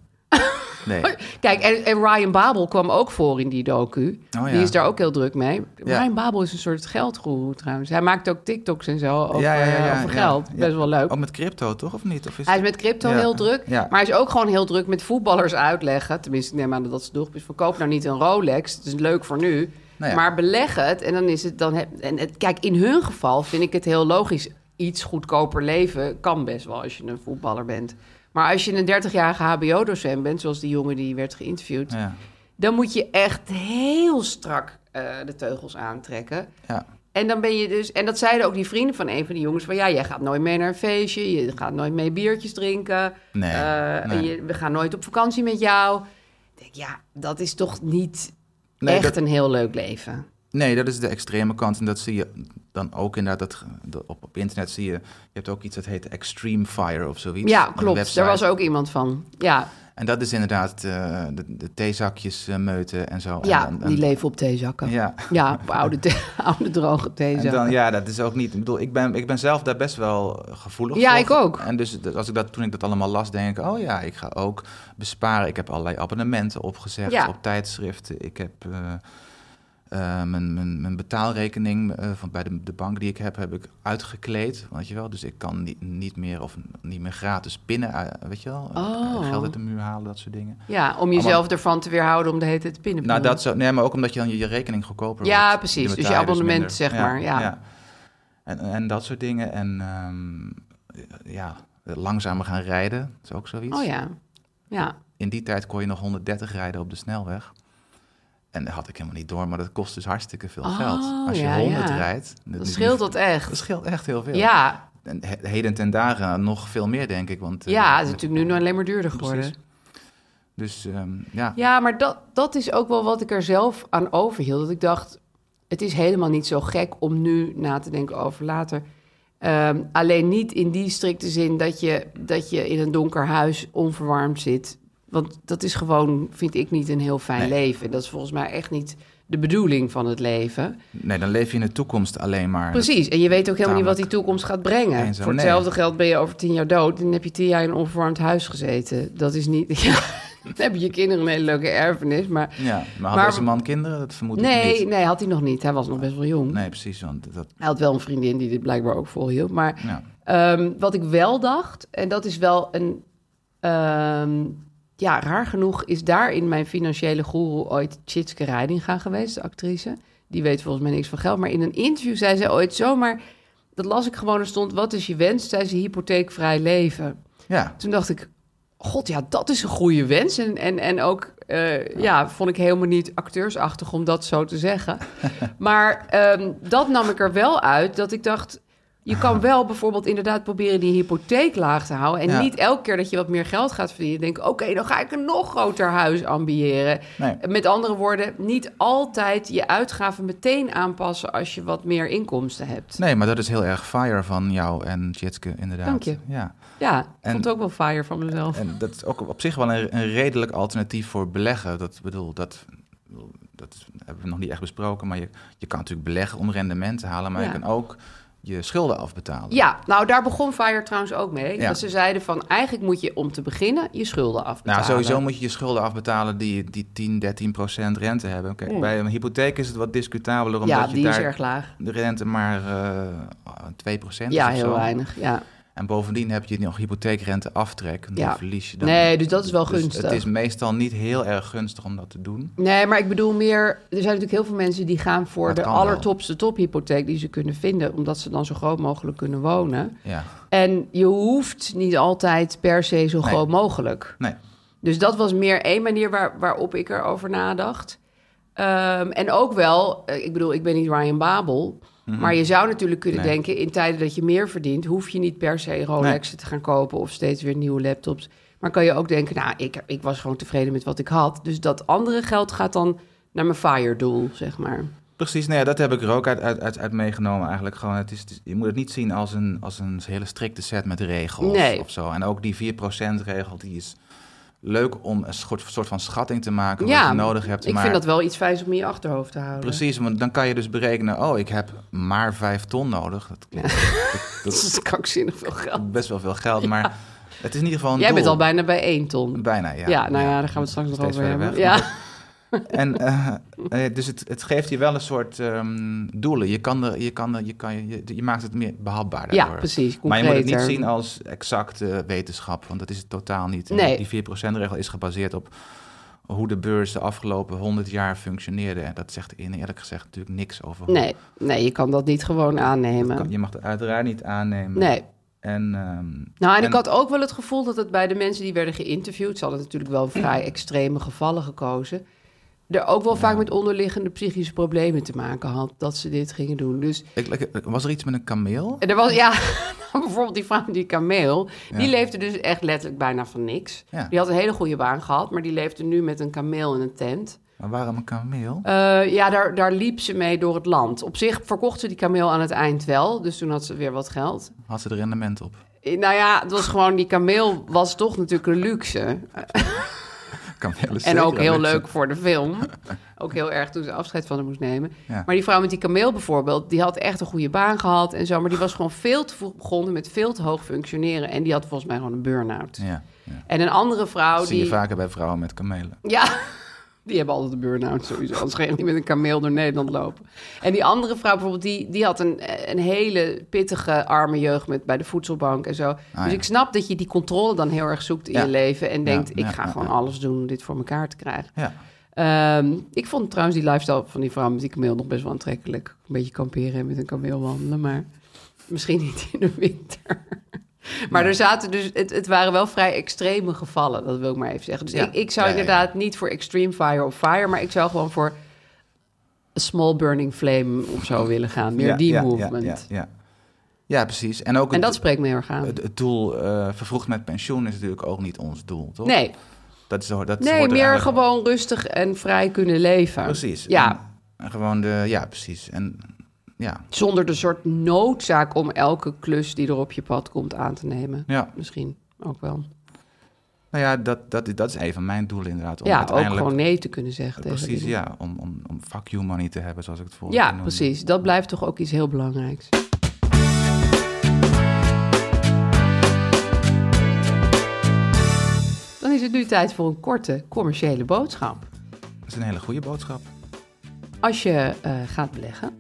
D: Nee,
C: Kijk, en, en Ryan Babel kwam ook voor in die docu.
D: Oh, ja.
C: Die is daar ook heel druk mee.
D: Ja.
C: Ryan Babel is een soort geldgoeroe trouwens. Hij maakt ook TikToks en zo over,
D: Ja, ja, ja,
C: eh,
D: ja,
C: over
D: ja.
C: geld.
D: Ja.
C: Best wel leuk.
D: ook met crypto toch, of niet? Of is
C: Hij is met crypto
D: Ja.
C: heel druk,
D: Ja.
C: maar hij is ook gewoon heel druk met voetballers uitleggen. Tenminste, ik neem aan dat dat ze doel is van koop nou niet een Rolex, het is leuk voor nu,
D: Nou ja.
C: maar beleg het en dan is het dan heb, en het, kijk in hun geval vind ik het heel logisch. Iets goedkoper leven kan best wel als je een voetballer bent. Maar als je een 30-jarige HBO-docent bent, zoals die jongen die werd geïnterviewd,
D: Ja,
C: dan moet je echt heel strak eh, de teugels aantrekken.
D: ja,
C: En dan ben je dus, en dat zeiden ook die vrienden van een van die jongens: van ja, jij gaat nooit mee naar een feestje, je gaat nooit mee biertjes drinken,
D: Nee,
C: eh, en
D: nee.
C: je- we gaan nooit op vakantie met jou. Ik denk, ja, dat is toch niet
D: Nee,
C: echt
D: dat-
C: een heel leuk leven.
D: Nee, dat is de extreme kant. En dat zie je dan ook inderdaad. Dat, ge- dat op, op internet zie je. Je hebt ook iets dat heet Extreme Fire of zoiets.
C: Ja,
D: Een
C: klopt.
D: website.
C: Daar was ook iemand van. Ja,
D: En dat is inderdaad eh, de, de theezakjes eh, meuten en zo. En
C: ja
D: dan- en-
C: die leven op theezakken. Ja,
D: Ja.
C: op oude, the- oude droge
D: En
C: theezakken.
D: dan, ja, dat is ook niet. Ik bedoel, ik ben, ik ben zelf daar best wel gevoelig
C: Ja,
D: voor.
C: ik ook.
D: En dus dat- als ik dat, toen ik dat allemaal las, denk ik: oh ja, ik ga ook besparen. Ik heb allerlei abonnementen opgezegd
C: Ja.
D: op tijdschriften. Ik heb eh, eh, mijn, mijn, mijn betaalrekening eh, van bij de, de bank die ik heb, heb ik uitgekleed. Weet je wel? Dus ik kan niet, niet meer of niet meer gratis pinnen, eh, weet je wel?
C: Oh.
D: Geld uit de muur halen, dat soort dingen.
C: ja, om jezelf
D: Allemaal-
C: ervan te weerhouden om de hele tijd te pinnen.
D: Nou, dat zo, nee, maar ook omdat je dan je, je rekening goedkoper
C: Ja,
D: wordt.
C: precies.
D: Dan
C: Dus
D: betaal
C: je abonnement,
D: minder.
C: zeg maar, ja.
D: En, en dat soort dingen. En ehm, ja, langzamer gaan rijden. Dat is ook zoiets.
C: Oh ja. Ja,
D: In die tijd kon je nog 130 rijden op de snelweg. En dat had ik helemaal niet door, maar dat kost dus hartstikke veel
C: Oh,
D: geld. Als je
C: ja,
D: 100
C: ja.
D: rijdt.
C: dat scheelt dat
D: Dat
C: echt.
D: scheelt echt heel veel.
C: Ja,
D: En he- heden ten dagen nog veel meer, denk ik. Want, eh,
C: ja, het is
D: met-
C: natuurlijk nu alleen maar duurder
D: Precies.
C: geworden.
D: Dus ehm, ja.
C: Ja, maar dat, dat is ook wel wat ik er zelf aan overhield. Dat ik dacht, het is helemaal niet zo gek om nu na te denken over later. Ehm, alleen niet in die strikte zin dat je, dat je in een donker huis onverwarmd zit. Want dat is gewoon, vind ik, niet een heel fijn
D: Nee.
C: leven. En dat is volgens mij echt niet de bedoeling van het leven.
D: Nee, dan leef je in de toekomst alleen maar.
C: Precies, en je weet ook helemaal niet wat die
D: tamelijk
C: toekomst gaat brengen.
D: eenzaam.
C: Voor
D: Nee.
C: hetzelfde geld ben je over tien jaar dood... en dan heb je tien jaar in een onverwarmd huis gezeten. Dat is niet... Ja, dan heb je kinderen een hele leuke erfenis, maar...
D: Ja, maar had
C: Maar-
D: deze man kinderen? Dat vermoed ik
C: Nee,
D: niet.
C: nee, had hij nog niet. Hij was nog best wel jong.
D: Nee, precies. Want dat,
C: Hij had wel een vriendin die dit blijkbaar ook volhield. Maar
D: ja.
C: ehm, wat ik wel dacht, en dat is wel een... ehm, ja, raar genoeg is daar in mijn financiële goeroe ooit Chitske Reidinga geweest, de actrice. Die weet volgens mij niks van geld. Maar in een interview zei ze ooit zomaar... Dat las ik gewoon, er stond, wat is je wens? Zei ze, hypotheekvrij leven.
D: Ja.
C: Toen dacht ik, god ja, dat is een goede wens. En, en, en ook, eh, ja. vond ik helemaal niet acteursachtig om dat zo te zeggen. maar ehm, dat nam ik er wel uit, dat ik dacht... Je kan wel bijvoorbeeld inderdaad proberen die hypotheek laag te houden. En
D: Ja.
C: niet elke keer dat je wat meer geld gaat verdienen... denk ik, oké, dan ga ik een nog groter huis ambiëren.
D: Nee.
C: Met andere woorden, niet altijd je uitgaven meteen aanpassen... als je wat meer inkomsten hebt.
D: Nee, maar dat is heel erg fire van jou en Jitske, inderdaad.
C: Dank je.
D: Ja.
C: Ja, ik
D: En-
C: vond het ook wel fire van mezelf.
D: En dat is ook op zich wel een, een redelijk alternatief voor beleggen. Dat bedoel, dat, bedoel, dat is- hebben we nog niet echt besproken. Maar je, je kan natuurlijk beleggen om rendement te halen. Maar
C: Ja.
D: je kan ook je schulden afbetalen.
C: Ja, nou daar begon Fire trouwens ook mee.
D: Ja.
C: Dat ze zeiden van eigenlijk moet je om te beginnen je schulden afbetalen.
D: Nou, sowieso moet je je schulden afbetalen die, die 10, 13 procent rente hebben. Kijk, Bij een hypotheek is het wat discutabeler, omdat
C: Ja,
D: je
C: die is
D: daar
C: erg laag.
D: de rente maar eh 2 procent
C: Ja,
D: is of
C: heel
D: zo.
C: weinig. Ja.
D: En bovendien heb je nog hypotheekrente aftrek. En
C: Ja.
D: dan verlies je dan.
C: Nee, dus dat is wel
D: Dus
C: gunstig.
D: het is meestal niet heel erg gunstig om dat te doen.
C: Nee, maar ik bedoel meer, er zijn natuurlijk heel veel mensen die gaan voor
D: Dat
C: de
D: kan wel.
C: allertopste tophypotheek die ze kunnen vinden, omdat ze dan zo groot mogelijk kunnen wonen.
D: Ja.
C: En je hoeft niet altijd per se zo
D: Nee.
C: groot mogelijk.
D: Nee.
C: Dus dat was meer één manier waar, waarop ik erover nadacht. Ehm, en ook wel, eh, ik bedoel, ik ben niet Ryan Babel. Maar je zou natuurlijk kunnen
D: Mhm. Nee.
C: denken, in tijden dat je meer verdient, hoef je niet per se Rolexen te gaan kopen of steeds weer nieuwe laptops. Maar kan je ook denken, nou, ik, ik was gewoon tevreden met wat ik had. Dus dat andere geld gaat dan naar mijn fire-doel, zeg maar.
D: Precies, nou ja, dat heb ik er ook uit, uit, uit, uit meegenomen eigenlijk. Gewoon, het is, het is- je moet het niet zien als een, als een hele strikte set met regels
C: Nee.
D: of zo. En ook die 4% regel, die is leuk om een soort, soort van schatting te maken wat je nodig hebt.
C: ik
D: maar
C: vind dat wel iets fijns om in je achterhoofd te houden.
D: Precies, want dan kan je dus berekenen, oh, ik heb maar 5 ton nodig. Dat klinkt
C: Dat is krankzinnig veel geld.
D: best wel veel geld, maar het is in ieder geval een
C: Jij bent
D: doel.
C: al bijna bij één ton.
D: Bijna, ja.
C: Ja, nou ja, daar gaan we het straks nog
D: Steeds
C: over
D: verder
C: hebben.
D: weg.
C: Ja.
D: En, eh, eh, dus het, het geeft je wel een soort ehm, doelen. Je, kan er, je, kan er, je, kan, je, je maakt het meer behapbaar
C: Ja,
D: daardoor.
C: precies,
D: Maar je moet het niet
C: concreter.
D: zien als exacte wetenschap, want dat is het totaal niet. En
C: Nee.
D: Die 4%-regel is gebaseerd op hoe de beurs de afgelopen 100 jaar functioneerde. En dat zegt in eerlijk gezegd natuurlijk niks over hoe...
C: Nee, nee, je kan dat niet gewoon aannemen.
D: Je mag het uiteraard niet aannemen.
C: Nee.
D: En, ehm,
C: Nou,
D: En-
C: en, ik had ook wel het gevoel dat het bij de mensen die werden geïnterviewd, ze hadden natuurlijk wel vrij extreme gevallen gekozen, er ook wel vaak met onderliggende psychische problemen te maken had dat ze dit gingen doen. Dus
D: ik, ik- was er iets met een kameel?
C: en er was, ja, nou, bijvoorbeeld die vrouw, die kameel, die leefde dus echt letterlijk bijna van niks.
D: Ja.
C: Die had een hele goede baan gehad, maar die leefde nu met een kameel in een tent.
D: Maar waarom een kameel?
C: Eh, ja, daar, daar liep ze mee door het land. Op zich verkocht ze die kameel aan het eind wel, dus toen had ze weer wat geld.
D: Had ze er rendement op?
C: Eh, Nou ja, het was gewoon, die kameel was toch natuurlijk een luxe.
D: Kameel is
C: En
D: zeker
C: ook
D: een
C: heel
D: luxe.
C: leuk voor de film. Ook heel erg toen ze afscheid van hem moest nemen.
D: Ja.
C: Maar die vrouw met die kameel bijvoorbeeld, die had echt een goede baan gehad en zo. Maar die was gewoon veel te vroeg begonnen met veel te hoog functioneren. En die had volgens mij gewoon een burn-out.
D: Ja, ja.
C: En een andere vrouw
D: Dat zie
C: Oh, die.
D: je vaker bij vrouwen met kamelen.
C: Ja, die hebben altijd een burn-out sowieso. Anders ga je niet met een kameel door Nederland lopen. En die andere vrouw bijvoorbeeld, die, die had een, een hele pittige arme jeugd met, bij de voedselbank en zo. Dus
D: Ah, ja.
C: ik snap dat je die controle dan heel erg zoekt in
D: Ja.
C: je leven. En denkt,
D: ja,
C: ik ga
D: ja,
C: gewoon
D: ja.
C: alles doen om dit voor elkaar te krijgen.
D: Ja.
C: Ehm, ik vond trouwens die lifestyle van die vrouw met die kameel nog best wel aantrekkelijk. Een beetje kamperen en met een kameel wandelen, maar misschien niet in de winter. Maar er zaten dus, het, het waren wel vrij extreme gevallen, dat wil ik maar even zeggen. Dus
D: Ja.
C: ik, ik zou
D: Ja, ja, ja.
C: inderdaad niet voor extreme fire of fire, maar ik zou gewoon voor a small burning flame of zo willen gaan. Meer
D: Ja,
C: die
D: ja, ja,
C: movement.
D: Ja, ja, Ja, precies. En ook
C: En
D: het,
C: dat spreekt me heel erg aan.
D: het, het doel eh, vervroegd met pensioen is natuurlijk ook niet ons doel, toch?
C: nee,
D: dat is, dat hoort er
C: nee meer
D: eigenlijk-
C: gewoon rustig en vrij kunnen leven.
D: Precies.
C: Ja.
D: En, en gewoon de, ja, precies. En ja,
C: Zonder de soort noodzaak om elke klus die er op je pad komt aan te nemen.
D: ja.
C: Misschien ook wel.
D: Nou ja, dat, dat, dat is een van mijn doelen inderdaad. Om
C: ja, ook
D: uiteindelijk,
C: gewoon nee te kunnen zeggen tegen
D: Precies,
C: dingen.
D: ja. Om, om, om fuck you money te hebben, zoals ik het vorige keer
C: Ja,
D: noemde.
C: precies. Dat blijft toch ook iets heel belangrijks. Dan is het nu tijd voor een korte commerciële boodschap.
D: Dat is een hele goede boodschap.
C: Als je eh, gaat beleggen,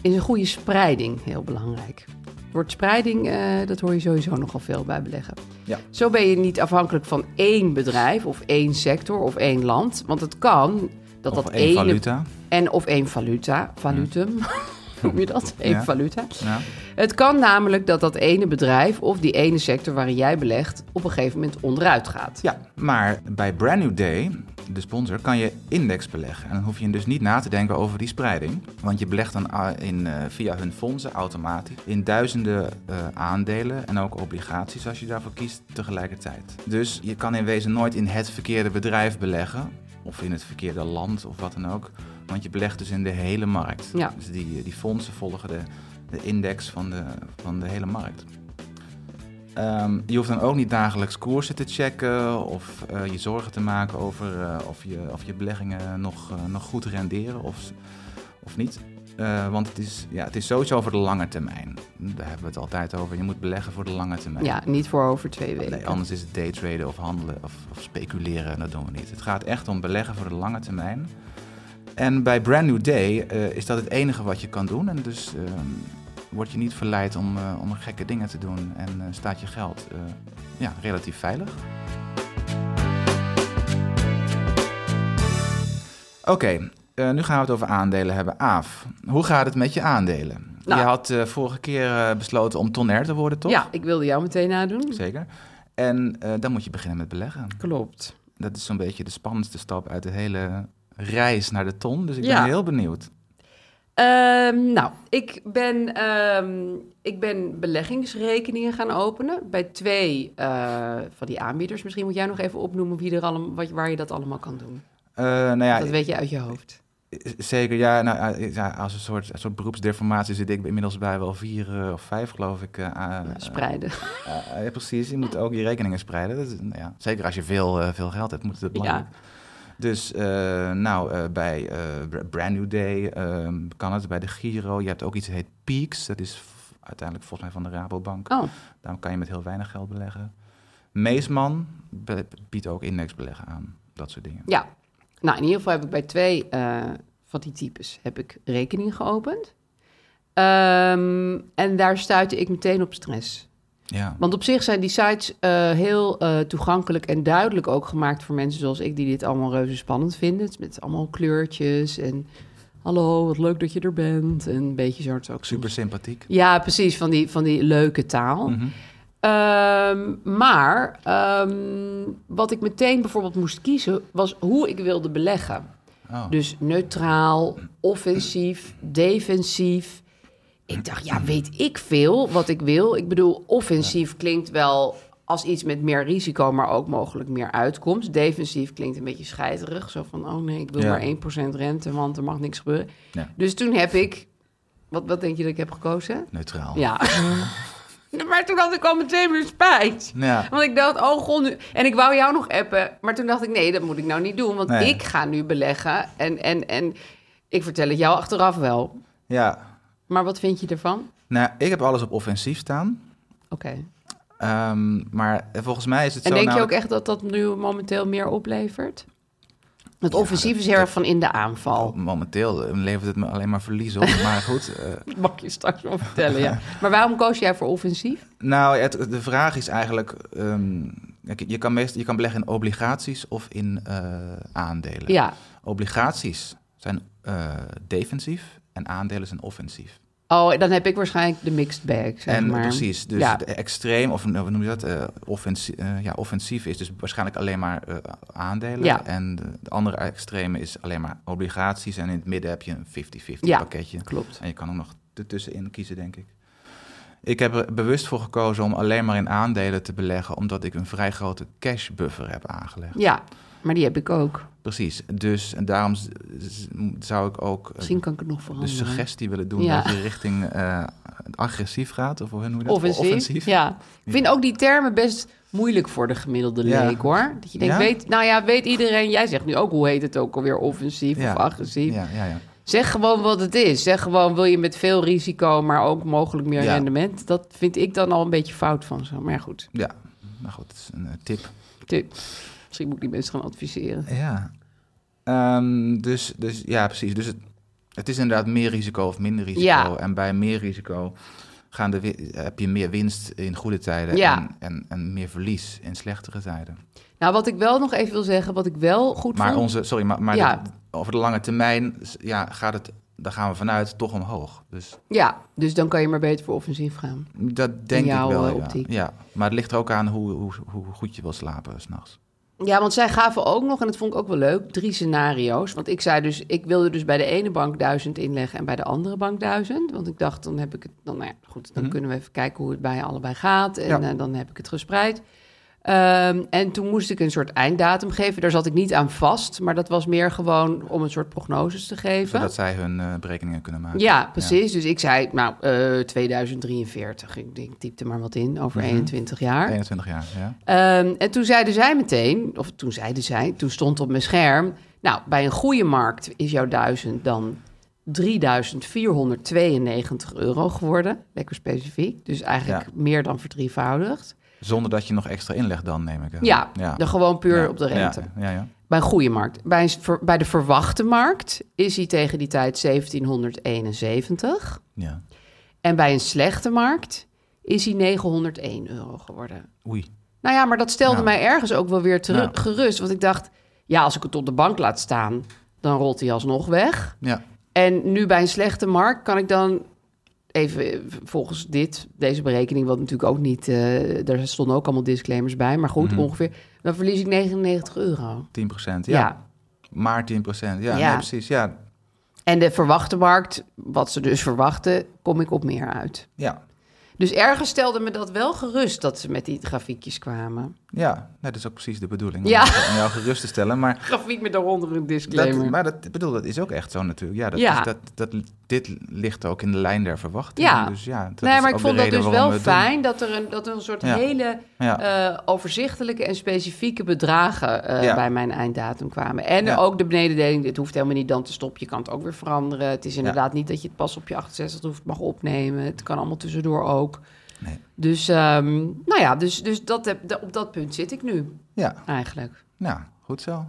C: is een goede spreiding heel belangrijk. Het woord spreiding, eh, dat hoor je sowieso nogal veel bij beleggen.
D: Ja.
C: Zo ben je niet afhankelijk van één bedrijf of één sector of één land. Want het kan dat
D: Of
C: dat
D: één
C: ene-
D: valuta. Hm.
C: En of één valuta. Valutum. Noem je dat? Eén
D: Ja.
C: valuta.
D: Ja.
C: Het kan namelijk dat dat ene bedrijf of die ene sector waarin jij belegt op een gegeven moment onderuit gaat.
D: Ja, maar bij Brand New Day, de sponsor, kan je index beleggen. En dan hoef je dus niet na te denken over die spreiding. Want je belegt dan ah, in, eh, via hun fondsen automatisch in duizenden eh, aandelen en ook obligaties als je daarvoor kiest tegelijkertijd. Dus je kan in wezen nooit in het verkeerde bedrijf beleggen. Of in het verkeerde land of wat dan ook. Want je belegt dus in de hele markt.
C: Ja.
D: Dus die, die fondsen volgen de, de index van de, van de hele markt. Ehm, je hoeft dan ook niet dagelijks koersen te checken of eh, je zorgen te maken over eh, of, je, of je beleggingen nog, eh, nog goed renderen of, of niet. Eh, want het is, ja, het is sowieso voor de lange termijn. Daar hebben we het altijd over. Je moet beleggen voor de lange termijn.
C: Ja, niet voor over twee weken.
D: Nee, anders is het daytraden of handelen of, of speculeren. en Dat doen we niet. Het gaat echt om beleggen voor de lange termijn. En bij Brand New Day eh, is dat het enige wat je kan doen. En dus ehm, word je niet verleid om, eh, om gekke dingen te doen. En eh, staat je geld eh, ja, relatief veilig. Oké, eh, nu gaan we het over aandelen hebben. Aaf, hoe gaat het met je aandelen?
C: Nou.
D: je had eh, vorige keer eh, besloten om tonair te worden, toch?
C: Ja, ik wilde jou meteen nadoen.
D: Zeker. En eh, dan moet je beginnen met beleggen.
C: Klopt.
D: Dat is zo'n beetje de spannendste stap uit de hele reis naar de ton. Dus ik
C: Ja.
D: ben heel benieuwd.
C: Ehm, nou, ik ben, ehm, ik ben beleggingsrekeningen gaan openen bij twee eh, van die aanbieders. Misschien moet jij nog even opnoemen wie er allemaal, wat, waar je dat allemaal kan doen.
D: Eh, nou ja,
C: dat weet je uit je hoofd.
D: z- zeker. Ja, nou, eh, ja, als een soort, een soort beroepsdeformatie zit ik inmiddels bij wel vier eh, of vijf, geloof ik. eh, aan-
C: Ja, spreiden.
D: eh, ja, precies. Je moet ook je rekeningen spreiden. Dat is, nou ja, zeker als je veel, eh, veel geld hebt, moet het belangrijk. Dus eh, nou, eh, bij eh, Br- Brand New Day ehm, kan het, bij de Giro. Je hebt ook iets dat heet Peaks. Dat is v- uiteindelijk volgens mij van de Rabobank.
C: Oh,
D: Daarom kan je met heel weinig geld beleggen. Meesman be- biedt ook indexbeleggen aan. Dat soort dingen.
C: ja. Nou, in ieder geval heb ik bij twee eh, van die types heb ik rekeningen geopend. Ehm, en daar stuitte ik meteen op stress.
D: Ja.
C: Want op zich zijn die sites eh, heel eh, toegankelijk en duidelijk ook gemaakt voor mensen zoals ik, die dit allemaal reuze spannend vinden. Het is Met allemaal kleurtjes en hallo, wat leuk dat je er bent. En een beetje zo. het is ook
D: Super sympathiek.
C: Ja, precies, van die, van die leuke taal. Ehm, maar ehm, wat ik meteen bijvoorbeeld moest kiezen, was hoe ik wilde beleggen.
D: Oh.
C: Dus neutraal, offensief, defensief. Ik dacht, ja, weet ik veel wat ik wil. Ik bedoel, offensief klinkt wel als iets met meer risico, maar ook mogelijk meer uitkomst. Defensief klinkt een beetje scheiterig. Zo van, oh nee, ik wil
D: Ja.
C: maar 1% rente, want er mag niks gebeuren.
D: Ja.
C: Dus toen heb ik... Wat, wat denk je dat ik heb gekozen?
D: Neutraal.
C: Ja. maar toen had ik al meteen weer spijt.
D: Ja.
C: Want ik dacht, oh god, nu... En ik wou jou nog appen. Maar toen dacht ik, nee, dat moet ik nou niet doen. Want
D: Nee.
C: ik ga nu beleggen. En, en, en ik vertel het jou achteraf wel.
D: Ja.
C: Maar wat vind je ervan?
D: Nou, ik heb alles op offensief staan.
C: Oké.
D: Ehm, maar volgens mij is het
C: En
D: zo... nou,
C: denk je ook
D: namelijk-
C: echt dat dat nu momenteel meer oplevert? Het offensief is heel erg van in de aanval.
D: Momenteel eh, levert het me alleen maar verlies op. maar goed, eh,
C: Dat mag je straks wel vertellen, ja. Maar waarom koos jij voor offensief?
D: Nou, het, de vraag is eigenlijk... ehm, kijk, je, kan meest, je kan beleggen in obligaties of in eh, aandelen.
C: Ja.
D: Obligaties zijn eh, defensief en aandelen zijn offensief.
C: Oh, dan heb ik waarschijnlijk de mixed bag, zeg
D: en
C: maar.
D: precies, dus
C: Ja.
D: het extreem, of nou, hoe noem je dat? eh, offensie- eh, ja, offensief is dus waarschijnlijk alleen maar eh, aandelen.
C: Ja.
D: En de, de andere extreme is alleen maar obligaties. En in het midden heb je een 50-50
C: Ja,
D: pakketje.
C: klopt.
D: En je kan ook nog ertussenin kiezen, denk ik. Ik heb er bewust voor gekozen om alleen maar in aandelen te beleggen, omdat ik een vrij grote cash buffer heb aangelegd.
C: Ja, maar die heb ik ook.
D: Precies. Dus en daarom z- z- zou ik ook eh,
C: Misschien kan ik het nog
D: de
C: veranderen.
D: suggestie willen doen
C: Ja.
D: dat je richting eh, agressief gaat. Of hoe noem je dat?
C: offensief. Ja. Ik vind ook die termen best moeilijk voor de gemiddelde
D: Ja.
C: leek, hoor. Dat je denkt,
D: Ja?
C: weet, nou ja, weet iedereen... Jij zegt nu ook, hoe heet het ook alweer, offensief
D: Ja.
C: of agressief.
D: Ja, ja, ja.
C: Zeg gewoon wat het is. Zeg gewoon, wil je met veel risico, maar ook mogelijk meer
D: Ja.
C: rendement? Dat vind ik dan al een beetje fout van zo. Maar goed,
D: Ja, nou goed, het is een eh, tip.
C: tip. Misschien moet ik die mensen gaan adviseren.
D: Ja. Ehm, dus, dus ja, precies. Dus het, het is inderdaad meer risico of minder risico.
C: Ja.
D: En bij meer risico gaan de, wi- heb je meer winst in goede tijden
C: Ja.
D: en, en, en meer verlies in slechtere tijden.
C: Nou, wat ik wel nog even wil zeggen, wat ik wel goed
D: Maar
C: vond...
D: onze, sorry, maar, maar
C: Ja.
D: de- over de lange termijn s- ja, gaat het, daar gaan we vanuit, toch omhoog. Dus
C: Ja, dus dan kan je maar beter voor offensief gaan.
D: dat denk
C: jouw,
D: ik wel.
C: eh,
D: ja.
C: optiek.
D: Ja. Maar het ligt er ook aan hoe, hoe, hoe goed je wil slapen s'nachts.
C: Ja, want zij gaven ook nog, en dat vond ik ook wel leuk, drie scenario's. Want ik zei dus, ik wilde dus bij de ene bank duizend inleggen en bij de andere bank duizend. Want ik dacht, dan heb ik het, dan, nou ja, goed, dan kunnen we even kijken hoe het bij allebei gaat. En
D: Mhm. Ja.
C: eh, dan heb ik het gespreid. Ehm, en toen moest ik een soort einddatum geven. Daar zat ik niet aan vast, maar dat was meer gewoon om een soort prognoses te geven.
D: Zodat zij hun eh, berekeningen kunnen maken.
C: Ja, precies. Dus ik zei, nou, eh, 2043. Ik, ik typte maar wat in, over 21 jaar.
D: 21 jaar, Mhm. ja.
C: Ehm, en toen zeiden zij meteen, of toen zeiden zij, toen stond op mijn scherm... Nou, bij een goede markt is jouw 1000 dan 3.492 euro geworden. Lekker specifiek. Dus eigenlijk
D: Ja.
C: meer dan verdrievoudigd.
D: Zonder dat je nog extra inlegt dan, neem ik aan.
C: Ja, dan gewoon puur
D: Ja.
C: op de rente.
D: Ja, ja, ja.
C: Bij een goede markt. Bij, een ver- bij de verwachte markt is hij tegen die tijd 1771.
D: ja.
C: En bij een slechte markt is hij 901 euro geworden.
D: Oei.
C: Nou ja, maar dat stelde
D: Ja.
C: mij ergens ook wel weer teru-
D: Ja.
C: gerust. Want ik dacht, ja, als ik het op de bank laat staan, dan rolt hij alsnog weg.
D: Ja.
C: En nu bij een slechte markt kan ik dan even eh, volgens dit, deze berekening, wat natuurlijk ook niet, eh daar stonden ook allemaal disclaimers bij, maar goed, ongeveer, dan verlies ik 99 euro.
D: 10 procent, Mhm. ja.
C: Ja.
D: Maar 10 procent, ja,
C: Ja.
D: nee, precies. Ja,
C: En de verwachte markt, wat ze dus verwachten, kom ik op meer uit.
D: ja.
C: Dus ergens stelde me dat wel gerust dat ze met die grafiekjes kwamen.
D: ja. Nee, dat is ook precies de bedoeling.
C: Ja.
D: Om jou gerust te stellen, maar
C: Grafiek met daaronder een disclaimer.
D: Dat, maar dat, ik bedoel, dat is ook echt zo natuurlijk. Ja, dat,
C: Ja.
D: is- dat, dat, dit ligt ook in de lijn der verwachting.
C: Ja.
D: Dus ja, dat
C: nee,
D: is
C: maar ik
D: ook
C: vond
D: de
C: dat
D: reden
C: dus
D: waarom
C: wel
D: we het doen.
C: fijn dat er een, dat er een soort
D: Ja.
C: hele
D: Ja.
C: eh, overzichtelijke en specifieke bedragen eh,
D: Ja.
C: bij mijn einddatum kwamen. En
D: Ja.
C: ook de benedendeling, het hoeft helemaal niet dan te stoppen. Je kan het ook weer veranderen. Het is inderdaad niet dat je het pas op je 68 hoeft mag opnemen. Het kan allemaal tussendoor ook.
D: Nee.
C: Dus, ehm, nou ja, dus, dus dat heb, da- op dat punt zit ik nu
D: Ja,
C: eigenlijk.
D: nou, goed zo.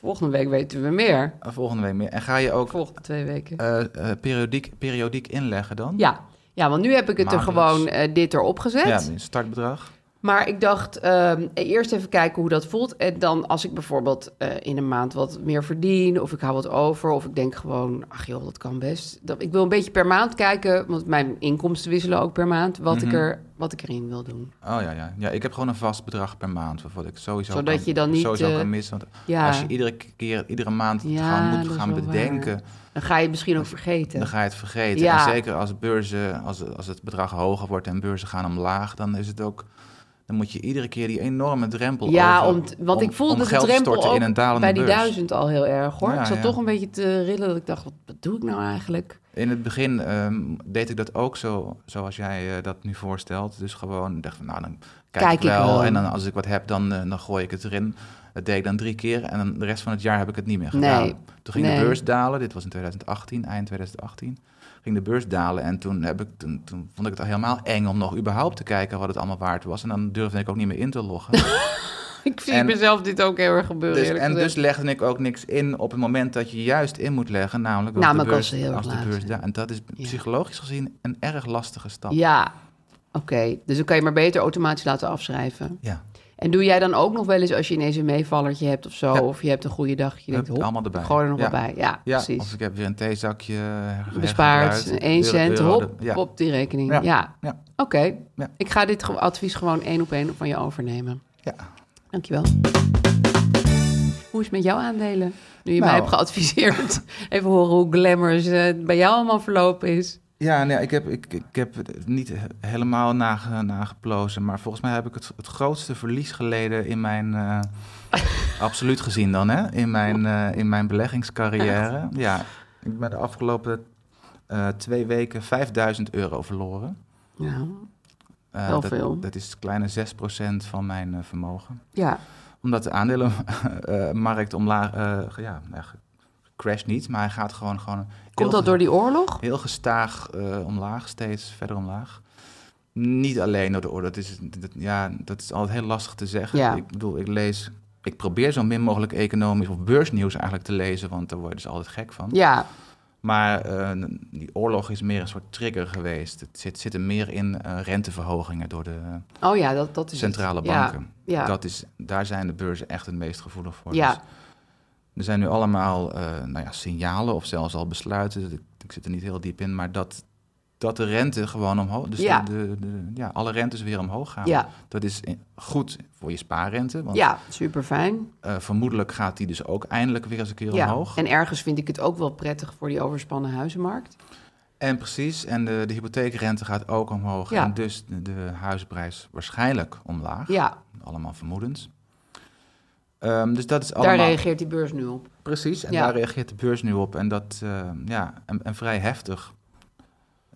C: Volgende week weten we meer.
D: Eh, Volgende week meer. En ga je ook
C: Volgende twee weken.
D: eh, eh, periodiek, periodiek inleggen dan?
C: Ja. ja, want nu heb ik het er
D: Maandelijks.
C: gewoon eh, dit erop gezet.
D: Ja, een startbedrag.
C: Maar ik dacht, ehm, eerst even kijken hoe dat voelt. En dan als ik bijvoorbeeld eh, in een maand wat meer verdien... of ik hou wat over, of ik denk gewoon... ach joh, dat kan best. Dat, ik wil een beetje per maand kijken... want mijn inkomsten wisselen ook per maand... wat,
D: Mhm.
C: ik, er, wat ik erin wil doen.
D: Oh ja, ja. ja, ik heb gewoon een vast bedrag per maand. Waarvoor ik sowieso,
C: Zodat
D: kan,
C: je dan niet,
D: sowieso
C: eh,
D: kan missen. Want
C: ja.
D: als je iedere keer, iedere maand het
C: Ja,
D: gaan,
C: dat
D: moet
C: is
D: gaan
C: wel waar.
D: bedenken,
C: Dan ga je het misschien ook vergeten.
D: dan ga je het vergeten.
C: Ja.
D: En zeker als beurzen, als, als het bedrag hoger wordt en beurzen gaan omlaag, dan is het ook. Dan moet je iedere keer die enorme drempel
C: ja,
D: over.
C: om, t- want
D: om-
C: ik voelde
D: om
C: de
D: geld te
C: drempel
D: storten
C: ook
D: in een dalende
C: bij die
D: beurs.
C: duizend al heel erg, hoor.
D: Ja,
C: ik zat
D: ja.
C: toch een beetje te rillen dat ik dacht... wat, wat doe ik nou eigenlijk?
D: In het begin ehm, deed ik dat ook zo, zoals jij eh, dat nu voorstelt. Dus gewoon dacht van, nou dan kijk,
C: Kijk
D: ik
C: ik
D: wel.
C: wel.
D: En dan als ik wat heb, dan, eh, dan gooi ik het erin. Dat deed ik dan drie keer en dan de rest van het jaar heb ik het niet meer gedaan.
C: Nee,
D: Toen ging
C: nee.
D: de beurs dalen. Dit was in 2018, eind 2018. Ging de beurs dalen en toen, heb ik, toen, toen vond ik het al helemaal eng om nog überhaupt te kijken wat het allemaal waard was. En dan durfde ik ook niet meer in te loggen.
C: Ik zie
D: En-
C: mezelf dit ook heel erg gebeuren,
D: Dus,
C: eerlijk
D: en
C: gezegd.
D: dus legde ik ook niks in op het moment dat je juist in moet leggen, namelijk
C: Nou,
D: als de
C: maar ik
D: beurs,
C: was heel erg
D: als de
C: laat,
D: beurs
C: hè.
D: da- En dat is psychologisch gezien een erg lastige stap.
C: Ja, oké. Dus dan kan je maar beter automatisch laten afschrijven.
D: Ja.
C: En doe jij dan ook nog wel eens als je ineens een meevallertje hebt of zo...
D: Ja.
C: of je hebt een goede dag, je denkt,
D: Hup,
C: hop,
D: allemaal erbij.
C: gooi er nog
D: Ja.
C: wel bij. Ja,
D: Ja, of
C: precies.
D: ik heb weer een theezakje her-
C: Bespaard,
D: hergebruikt,
C: 1
D: euro-
C: cent,
D: euro-
C: hop,
D: ja.
C: op die rekening. Ja,
D: Ja. Ja.
C: oké.
D: Ja.
C: Ik ga dit ge- advies gewoon één op één van je overnemen.
D: Ja.
C: Dankjewel. Hoe is het met jouw aandelen? Nu je
D: Nou.
C: mij hebt geadviseerd. Even horen hoe glamorous eh, het bij jou allemaal verlopen is.
D: Ja, nee, ik heb, ik, ik heb het niet he- helemaal nage- nageplozen, maar volgens mij heb ik het, het grootste verlies geleden in mijn, eh, absoluut gezien dan, hè, in mijn, eh, in mijn beleggingscarrière. Ja, ik ben de afgelopen eh, twee weken 5000 euro verloren.
C: Ja,
D: Eh,
C: Wel
D: dat,
C: veel.
D: dat is kleine 6% van mijn eh, vermogen.
C: ja.
D: Omdat de aandelenmarkt omlaag, eh, ja, nou, ge- crasht niet, maar hij gaat gewoon... gewoon
C: komt dat door die oorlog?
D: Heel gestaag eh, omlaag, steeds verder omlaag. Niet alleen door de orde. Dat is, dat, ja, dat is altijd heel lastig te zeggen.
C: Ja.
D: Ik bedoel, ik lees. Ik probeer zo min mogelijk economisch of beursnieuws eigenlijk te lezen, want daar word je dus altijd gek van.
C: Ja,
D: Maar eh, die oorlog is meer een soort trigger geweest. Het zit, zit er meer in eh, renteverhogingen door de eh,
C: Oh ja, dat, dat is het.
D: centrale
C: Ja,
D: banken.
C: Ja,
D: Dat is, daar zijn de beurzen echt het meest gevoelig voor.
C: Ja.
D: Dus er zijn nu allemaal eh, nou ja, signalen of zelfs al besluiten. Ik, ik zit er niet heel diep in, maar dat, dat de rente gewoon omhoog... Dus
C: Ja.
D: De, de, de- ja, alle rentes weer omhoog gaan.
C: ja,
D: Dat is eh, goed voor je spaarrente. Want
C: ja super fijn.
D: eh, vermoedelijk gaat die dus ook eindelijk weer eens een keer
C: Ja.
D: omhoog.
C: En ergens vind ik het ook wel prettig voor die overspannen huizenmarkt.
D: En precies, en de, de hypotheekrente gaat ook omhoog.
C: Ja.
D: En dus de, de huisprijs waarschijnlijk omlaag.
C: Ja,
D: Allemaal vermoedens. Ehm, dus dat is
C: daar
D: allemaal...
C: reageert die beurs nu op.
D: Precies, en
C: Ja.
D: daar reageert de beurs nu op. En dat, eh, ja, en, en vrij heftig.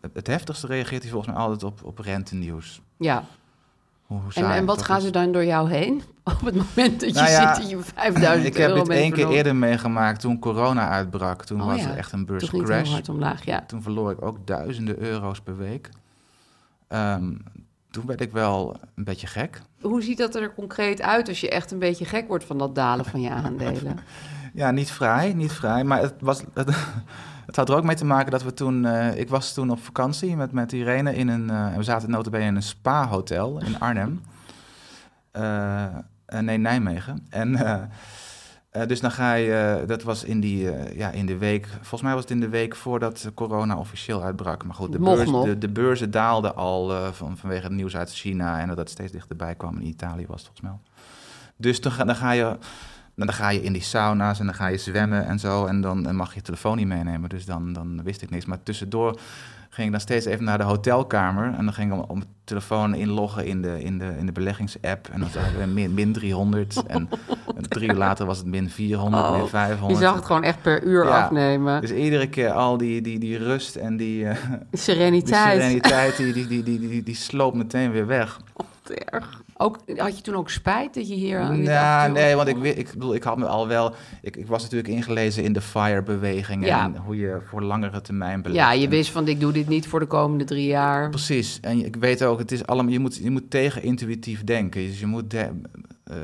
D: Het, het heftigste reageert hij volgens mij altijd op, op rentenieuws.
C: Ja,
D: Hoe, hoe
C: en,
D: saai
C: en wat
D: dat
C: gaan
D: is.
C: ze dan door jou heen? Op het moment dat je
D: Nou ja,
C: zit dat je 5000
D: Ik
C: euro
D: heb dit
C: mee
D: één keer
C: verloren.
D: eerder meegemaakt toen corona uitbrak. Toen
C: Oh
D: was
C: ja,
D: er echt een
C: Toen ging het heel
D: beurscrash.
C: hard omlaag, ja.
D: Toen verloor ik ook duizenden euro's per week. Ehm, toen werd ik wel een beetje gek.
C: Hoe ziet dat er concreet uit als je echt een beetje gek wordt van dat dalen van je aandelen?
D: Ja, niet vrij, niet vrij. Maar het, was, het, het had er ook mee te maken dat we toen... eh, ik was toen op vakantie met, met Irene in een... eh, we zaten nota bene in een spa-hotel in Arnhem. Eh, eh, nee, Nijmegen. En... eh, eh, dus dan ga je, eh, dat was in, die, eh, ja, in de week, volgens mij was het in de week voordat corona officieel uitbrak. Maar goed, de,
C: Mocht
D: beurs,
C: nog.
D: de, de beurzen daalden al eh, van, vanwege het nieuws uit China en dat dat steeds dichterbij kwam. In Italië was het volgens mij. al. Dus dan ga, dan ga je nou, dan ga je in die sauna's en dan ga je zwemmen en zo. En dan eh, mag je telefoon niet meenemen. Dus dan, dan wist ik niks. Maar tussendoor ging ik dan steeds even naar de hotelkamer. En dan ging ik om, om mijn telefoon inloggen in de, in de, in de beleggingsapp. En dan zag ik eh, min, min 300. En, en drie uur later was het min 400,
C: Oh,
D: min 500.
C: Je zag het gewoon echt per uur
D: Ja.
C: afnemen.
D: Dus iedere keer al die, die, die rust en die, eh, die
C: Sereniteit.
D: sereniteit, die, die, die, die, die, die sloopt meteen weer weg.
C: Wat erg. Ook, had je toen ook spijt dat je hier aan dit
D: Ja,
C: avontuur-
D: Nou, nee, want ik, wi- ik bedoel, ik had me al wel. Ik, ik was natuurlijk ingelezen in de FIRE-beweging
C: Ja.
D: en hoe je voor langere termijn belegt.
C: Ja, je
D: En-
C: wist van ik doe dit niet voor de komende drie jaar.
D: Precies. En ik weet ook, het is allemaal, je, moet, je moet tegen-intuïtief denken. Dus je moet, de- eh,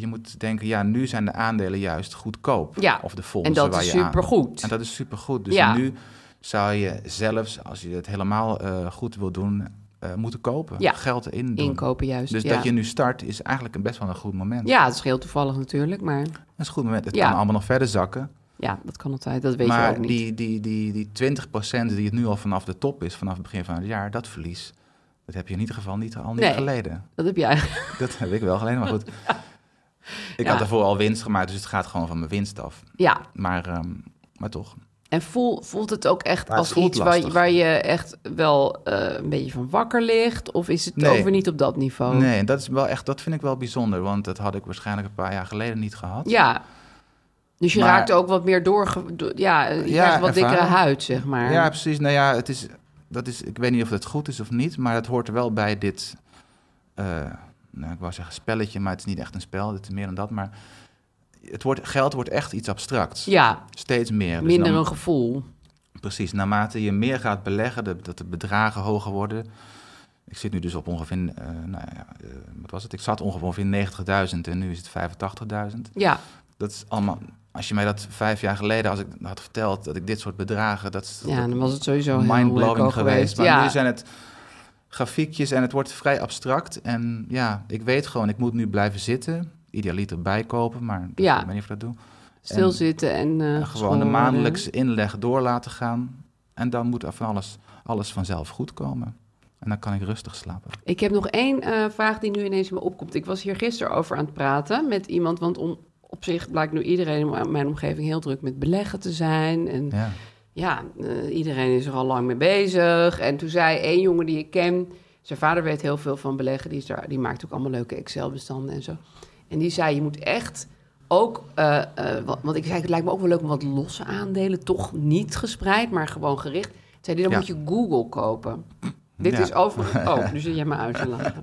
D: je moet denken, ja, nu zijn de aandelen juist goedkoop.
C: Ja,
D: Of de fondsen
C: En dat
D: waar
C: is
D: je aan-
C: supergoed.
D: En dat is supergoed. Dus
C: Ja.
D: nu zou je zelfs, als je het helemaal eh, goed wil doen, eh, moeten kopen.
C: Ja.
D: Geld in doen.
C: Inkopen juist.
D: Dus
C: ja.
D: dat je nu start is eigenlijk een best wel een goed moment.
C: ja, het is heel toevallig natuurlijk, maar
D: Dat is een goed moment. Het
C: Ja.
D: kan allemaal nog verder zakken.
C: ja, dat kan altijd. Dat weet je ook
D: maar
C: niet.
D: die, die, die, die 20% die het nu al vanaf de top is, vanaf het begin van het jaar, dat verlies, dat heb je in ieder geval niet al niet
C: Nee.
D: geleden.
C: Dat heb jij.
D: Dat heb ik wel geleden, maar goed. Ik
C: Ja.
D: had daarvoor al winst gemaakt, dus het gaat gewoon van mijn winst af.
C: Ja,
D: Maar, ehm, maar toch.
C: en voel, voelt het ook echt
D: Maar het
C: als
D: voelt
C: iets waar,
D: lastig.
C: waar je echt wel eh, een beetje van wakker ligt? Of is het
D: Nee.
C: over niet op dat niveau?
D: Nee, dat, is wel echt, dat vind ik wel bijzonder, want dat had ik waarschijnlijk een paar jaar geleden niet gehad.
C: Ja. Dus je
D: Maar-
C: raakt ook wat meer door. Ja, je
D: Ja,
C: krijgt wat dikkere
D: ervaring.
C: huid, zeg maar.
D: Ja, precies. Nou ja, het is, dat is, ik weet niet of het goed is of niet, maar dat hoort er wel bij dit. eh, nou, ik wou zeggen spelletje, maar het is niet echt een spel. Het is meer dan dat. Maar het wordt, geld wordt echt iets abstracts.
C: Ja,
D: Steeds meer. Dus
C: minder
D: nam-
C: een gevoel.
D: Precies. Naarmate je meer gaat beleggen, de- dat de bedragen hoger worden. Ik zit nu dus op ongeveer, eh, nou ja, eh, wat was het? Ik zat ongeveer 90.000 en nu is het 85.000.
C: Ja,
D: Dat is allemaal. Als je mij dat vijf jaar geleden als ik had verteld dat ik dit soort bedragen, dat is,
C: ja dan was het sowieso heel
D: mindblowing
C: leuk
D: geweest. Maar
C: ja.
D: nu zijn het grafiekjes en het wordt vrij abstract. En ja, ik weet gewoon, ik moet nu blijven zitten. Idealiter bijkopen, maar dat-
C: Ja.
D: ik weet niet of ik dat doe.
C: Stilzitten en... eh,
D: En gewoon de
C: schoren.
D: maandelijkse inleg door laten gaan. En dan moet er van alles, alles vanzelf goed komen. En dan kan ik rustig slapen.
C: Ik heb nog één eh, vraag die nu ineens in me opkomt. Ik was hier gisteren over aan het praten met iemand, want om, op zich blijkt nu iedereen in mijn omgeving heel druk met beleggen te zijn. En
D: Ja.
C: ja, eh, iedereen is er al lang mee bezig. En toen zei één jongen die ik ken, zijn vader weet heel veel van beleggen, die, is daar, die maakt ook allemaal leuke Excel-bestanden en zo. En die zei, je moet echt ook, eh, eh, wa- want ik zei, het lijkt me ook wel leuk om wat losse aandelen, toch niet gespreid, maar gewoon gericht. Toen Zei die, dan
D: Ja.
C: moet je Google kopen. Dit
D: Ja.
C: is overigens... Oh, nu zit jij me uit te lachen.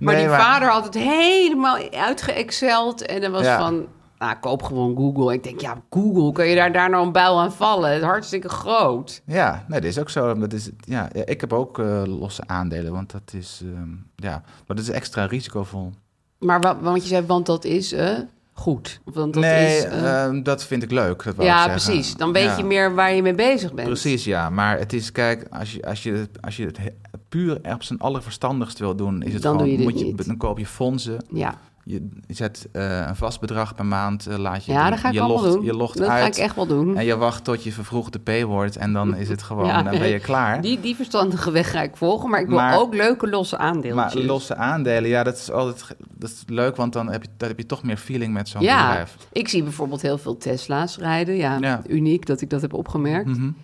C: Maar
D: Nee,
C: die
D: maar-
C: vader had het helemaal uitgeexceld. En dan was
D: Ja.
C: van, nou, koop gewoon Google. Ik denk, ja, Google, kun je daar, daar nou een buil aan vallen? Het is hartstikke groot.
D: Ja, nee, dat is ook zo. Dat is, ja, ja, ik heb ook eh, losse aandelen, want dat is, ehm, ja, maar dat is extra risicovol.
C: Maar wa- want je zei, want dat is eh, goed. Want dat
D: nee,
C: is, eh,
D: ehm, dat vind ik leuk. Dat wou ik
C: ja,
D: zeggen.
C: precies. Dan weet
D: Ja.
C: je meer waar je mee bezig bent.
D: Precies, ja. Maar het is, kijk, als je, als je, het- als je het he- puur op zijn allerverstandigst wil doen, is het
C: Dan
D: gewoon,
C: doe je dit
D: moet je,
C: niet.
D: dan koop je fondsen.
C: Ja,
D: Je zet eh, een vast bedrag per maand, eh, laat je
C: ja
D: doen.
C: dat ga ik
D: je
C: allemaal
D: logt,
C: doen.
D: Je logt
C: dat
D: uit
C: ga ik echt wel doen.
D: en je wacht tot je vervroegde P wordt en dan is het gewoon,
C: Ja.
D: dan ben je klaar.
C: Die, die verstandige weg ga ik volgen, maar ik wil
D: Maar-
C: ook leuke losse aandeeltjes.
D: maar losse aandelen, ja, dat is altijd ge- dat is leuk, want dan heb je, dan heb je toch meer feeling met zo'n
C: ja,
D: bedrijf.
C: ik zie bijvoorbeeld heel veel Tesla's rijden. Ja,
D: Ja. Mhm.
C: uniek dat ik dat heb opgemerkt. Dan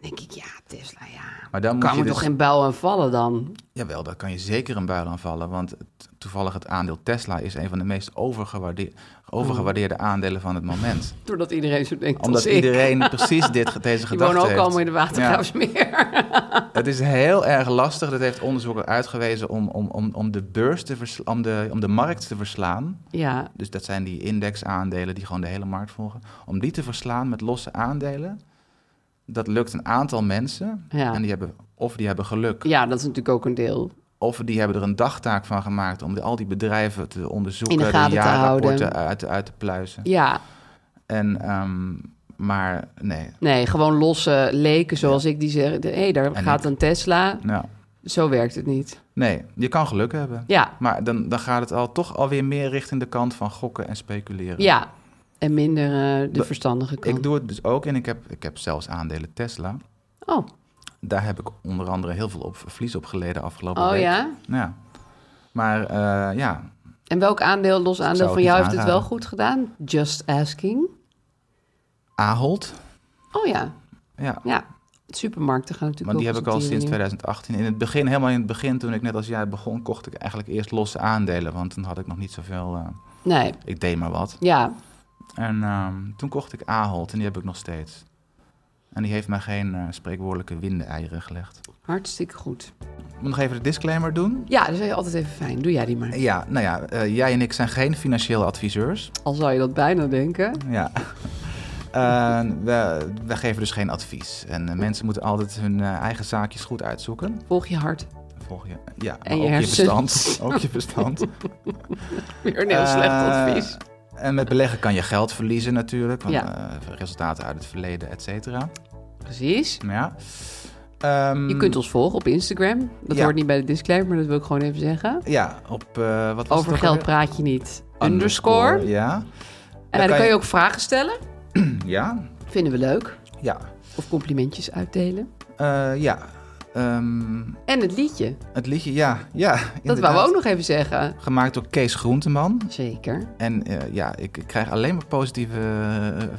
C: denk ik, ja, Tesla, ja.
D: Maar dan moet
C: kan
D: je
C: er
D: dus-
C: toch geen bouw aan vallen dan?
D: Jawel, daar kan je zeker een buil aan vallen. Want het- toevallig het aandeel Tesla is een van de meest overgewaarde- overgewaardeerde aandelen van het moment.
C: Doordat iedereen zo denkt
D: Omdat
C: als Mm. ik.
D: iedereen precies dit, ge- deze
C: Die
D: gedachte
C: wonen ook
D: heeft.
C: allemaal in de Watergraafsmeer.
D: Het is heel erg lastig, dat heeft onderzoek ook uitgewezen, om, om, om, om de beurs te versla- om, de, om de markt te verslaan.
C: Ja,
D: Dus dat zijn die indexaandelen die gewoon de hele markt volgen. Om die te verslaan met losse aandelen, dat lukt een aantal mensen.
C: Ja.
D: En die hebben, of die hebben geluk,
C: ja, dat is natuurlijk ook een deel.
D: Of die hebben er een dagtaak van gemaakt om de- al die bedrijven te onderzoeken,
C: In de gaten te
D: jaarrapporten
C: houden.
D: uit, uit te pluizen.
C: Ja,
D: En, ehm, maar nee.
C: nee, gewoon losse leken zoals ik die zeggen. Hé, hey, daar
D: En
C: gaat een Tesla.
D: Nou,
C: Zo werkt het niet.
D: nee, je kan geluk hebben.
C: Ja,
D: Maar dan, dan gaat het al toch alweer meer richting de kant van gokken en speculeren.
C: ja. En minder eh, de
D: Dat-
C: verstandige kant.
D: Ik doe het dus ook en ik heb, ik heb zelfs aandelen Tesla.
C: Oh,
D: Daar heb ik onder andere heel veel op, verlies op geleden afgelopen
C: oh
D: week.
C: ja?
D: Ja. Maar eh, ja,
C: En welk aandeel, los aandeel
D: zou
C: van
D: het
C: jou,
D: niet
C: heeft het wel
D: aanraden.
C: goed gedaan? Just asking.
D: Ahold.
C: Oh ja,
D: Ja,
C: ja. Supermarkten gaan natuurlijk
D: Want die
C: ook
D: heb ik
C: eens
D: al
C: op
D: sinds
C: die manier.
D: 2018. In het begin, helemaal in het begin, toen ik net als jij begon, kocht ik eigenlijk eerst losse aandelen. Want toen had ik nog niet zoveel. eh,
C: Nee,
D: ik deed maar wat.
C: ja.
D: En ehm, toen kocht ik Ahold en die heb ik nog steeds. En die heeft mij geen eh, spreekwoordelijke windeieren gelegd.
C: Hartstikke goed.
D: Ik moet nog even de disclaimer doen.
C: Ja, dat is altijd even fijn. Doe jij die maar.
D: Ja, nou ja, eh, jij en ik zijn geen financieel adviseurs.
C: Al zou je dat bijna denken.
D: Ja. Eh, we, we geven dus geen advies. En eh, mensen moeten altijd hun eh, eigen zaakjes goed uitzoeken.
C: Volg je hart.
D: Volg je, ja, maar
C: En je
D: ook je
C: hersens.
D: verstand. Ook je verstand.
C: Weer een heel slecht
D: Eh,
C: advies.
D: En met beleggen kan je geld verliezen natuurlijk. Want,
C: Ja.
D: eh, resultaten uit het verleden, et cetera.
C: Precies.
D: Maar Ja. Ehm,
C: Je kunt ons volgen op Instagram. Dat
D: ja.
C: hoort niet bij de disclaimer, maar dat wil ik gewoon even zeggen.
D: Ja, op... eh, wat was het
C: Over
D: ook
C: geld
D: alweer?
C: praat je niet. Underscore.
D: Ja.
C: En dan kan je ook vragen stellen.
D: Ja.
C: Vinden we leuk.
D: Ja.
C: Of complimentjes uitdelen.
D: Eh, ja. Ehm,
C: En het liedje.
D: het liedje, ja. ja
C: Dat
D: inderdaad.
C: wou we ook nog even zeggen.
D: Gemaakt door Kees Groenteman.
C: Zeker.
D: En eh, ja, ik ik krijg alleen maar positieve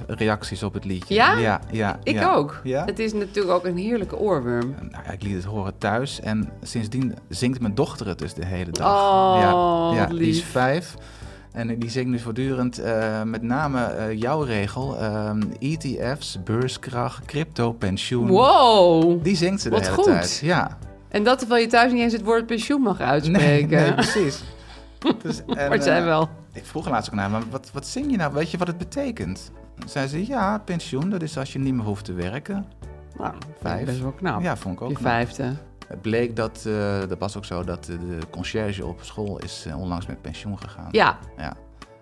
D: eh, reacties op het liedje.
C: Ja?
D: Ja, ja,
C: Ik
D: ja.
C: ook.
D: Ja?
C: Het is natuurlijk ook een heerlijke oorworm.
D: Nou ja, ik liet het horen thuis en sindsdien zingt mijn dochter het dus de hele dag.
C: Oh,
D: ja, ja,
C: wat
D: die is
C: lief.
D: vijf. En die zingt nu voortdurend eh, met name eh, jouw regel. ehm, ETF's, beurskracht, crypto, pensioen.
C: Wow!
D: Die zingt ze de
C: Wat
D: hele
C: goed.
D: tijd. Ja.
C: En dat terwijl je thuis niet eens het woord pensioen mag
D: Nee,
C: uitspreken.
D: nee, precies. Dus, en,
C: maar het
D: eh,
C: zijn wel.
D: Ik vroeg haar laatst ook naar, maar wat, wat zing je nou? Weet je wat het betekent? Toen zei ze, ja, pensioen, dat is als je niet meer hoeft te werken.
C: Nou,
D: Vijf.
C: Best wel knap.
D: ja, vond ik ook.
C: Nou, je
D: knap.
C: vijfde.
D: Het bleek dat, eh, dat was ook zo, dat eh, de conciërge op school is eh, onlangs met pensioen gegaan.
C: Ja,
D: Ja.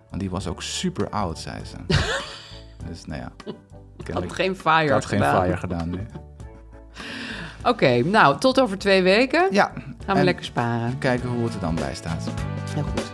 D: Want die was ook super oud, zei ze. dus nou ja.
C: had
D: Kennelijk
C: geen fire
D: had geen
C: gedaan.
D: fire gedaan nu.
C: Oké, nou, tot over twee weken.
D: Ja.
C: Gaan we
D: en
C: lekker sparen.
D: kijken hoe het er dan bij staat.
C: Heel goed.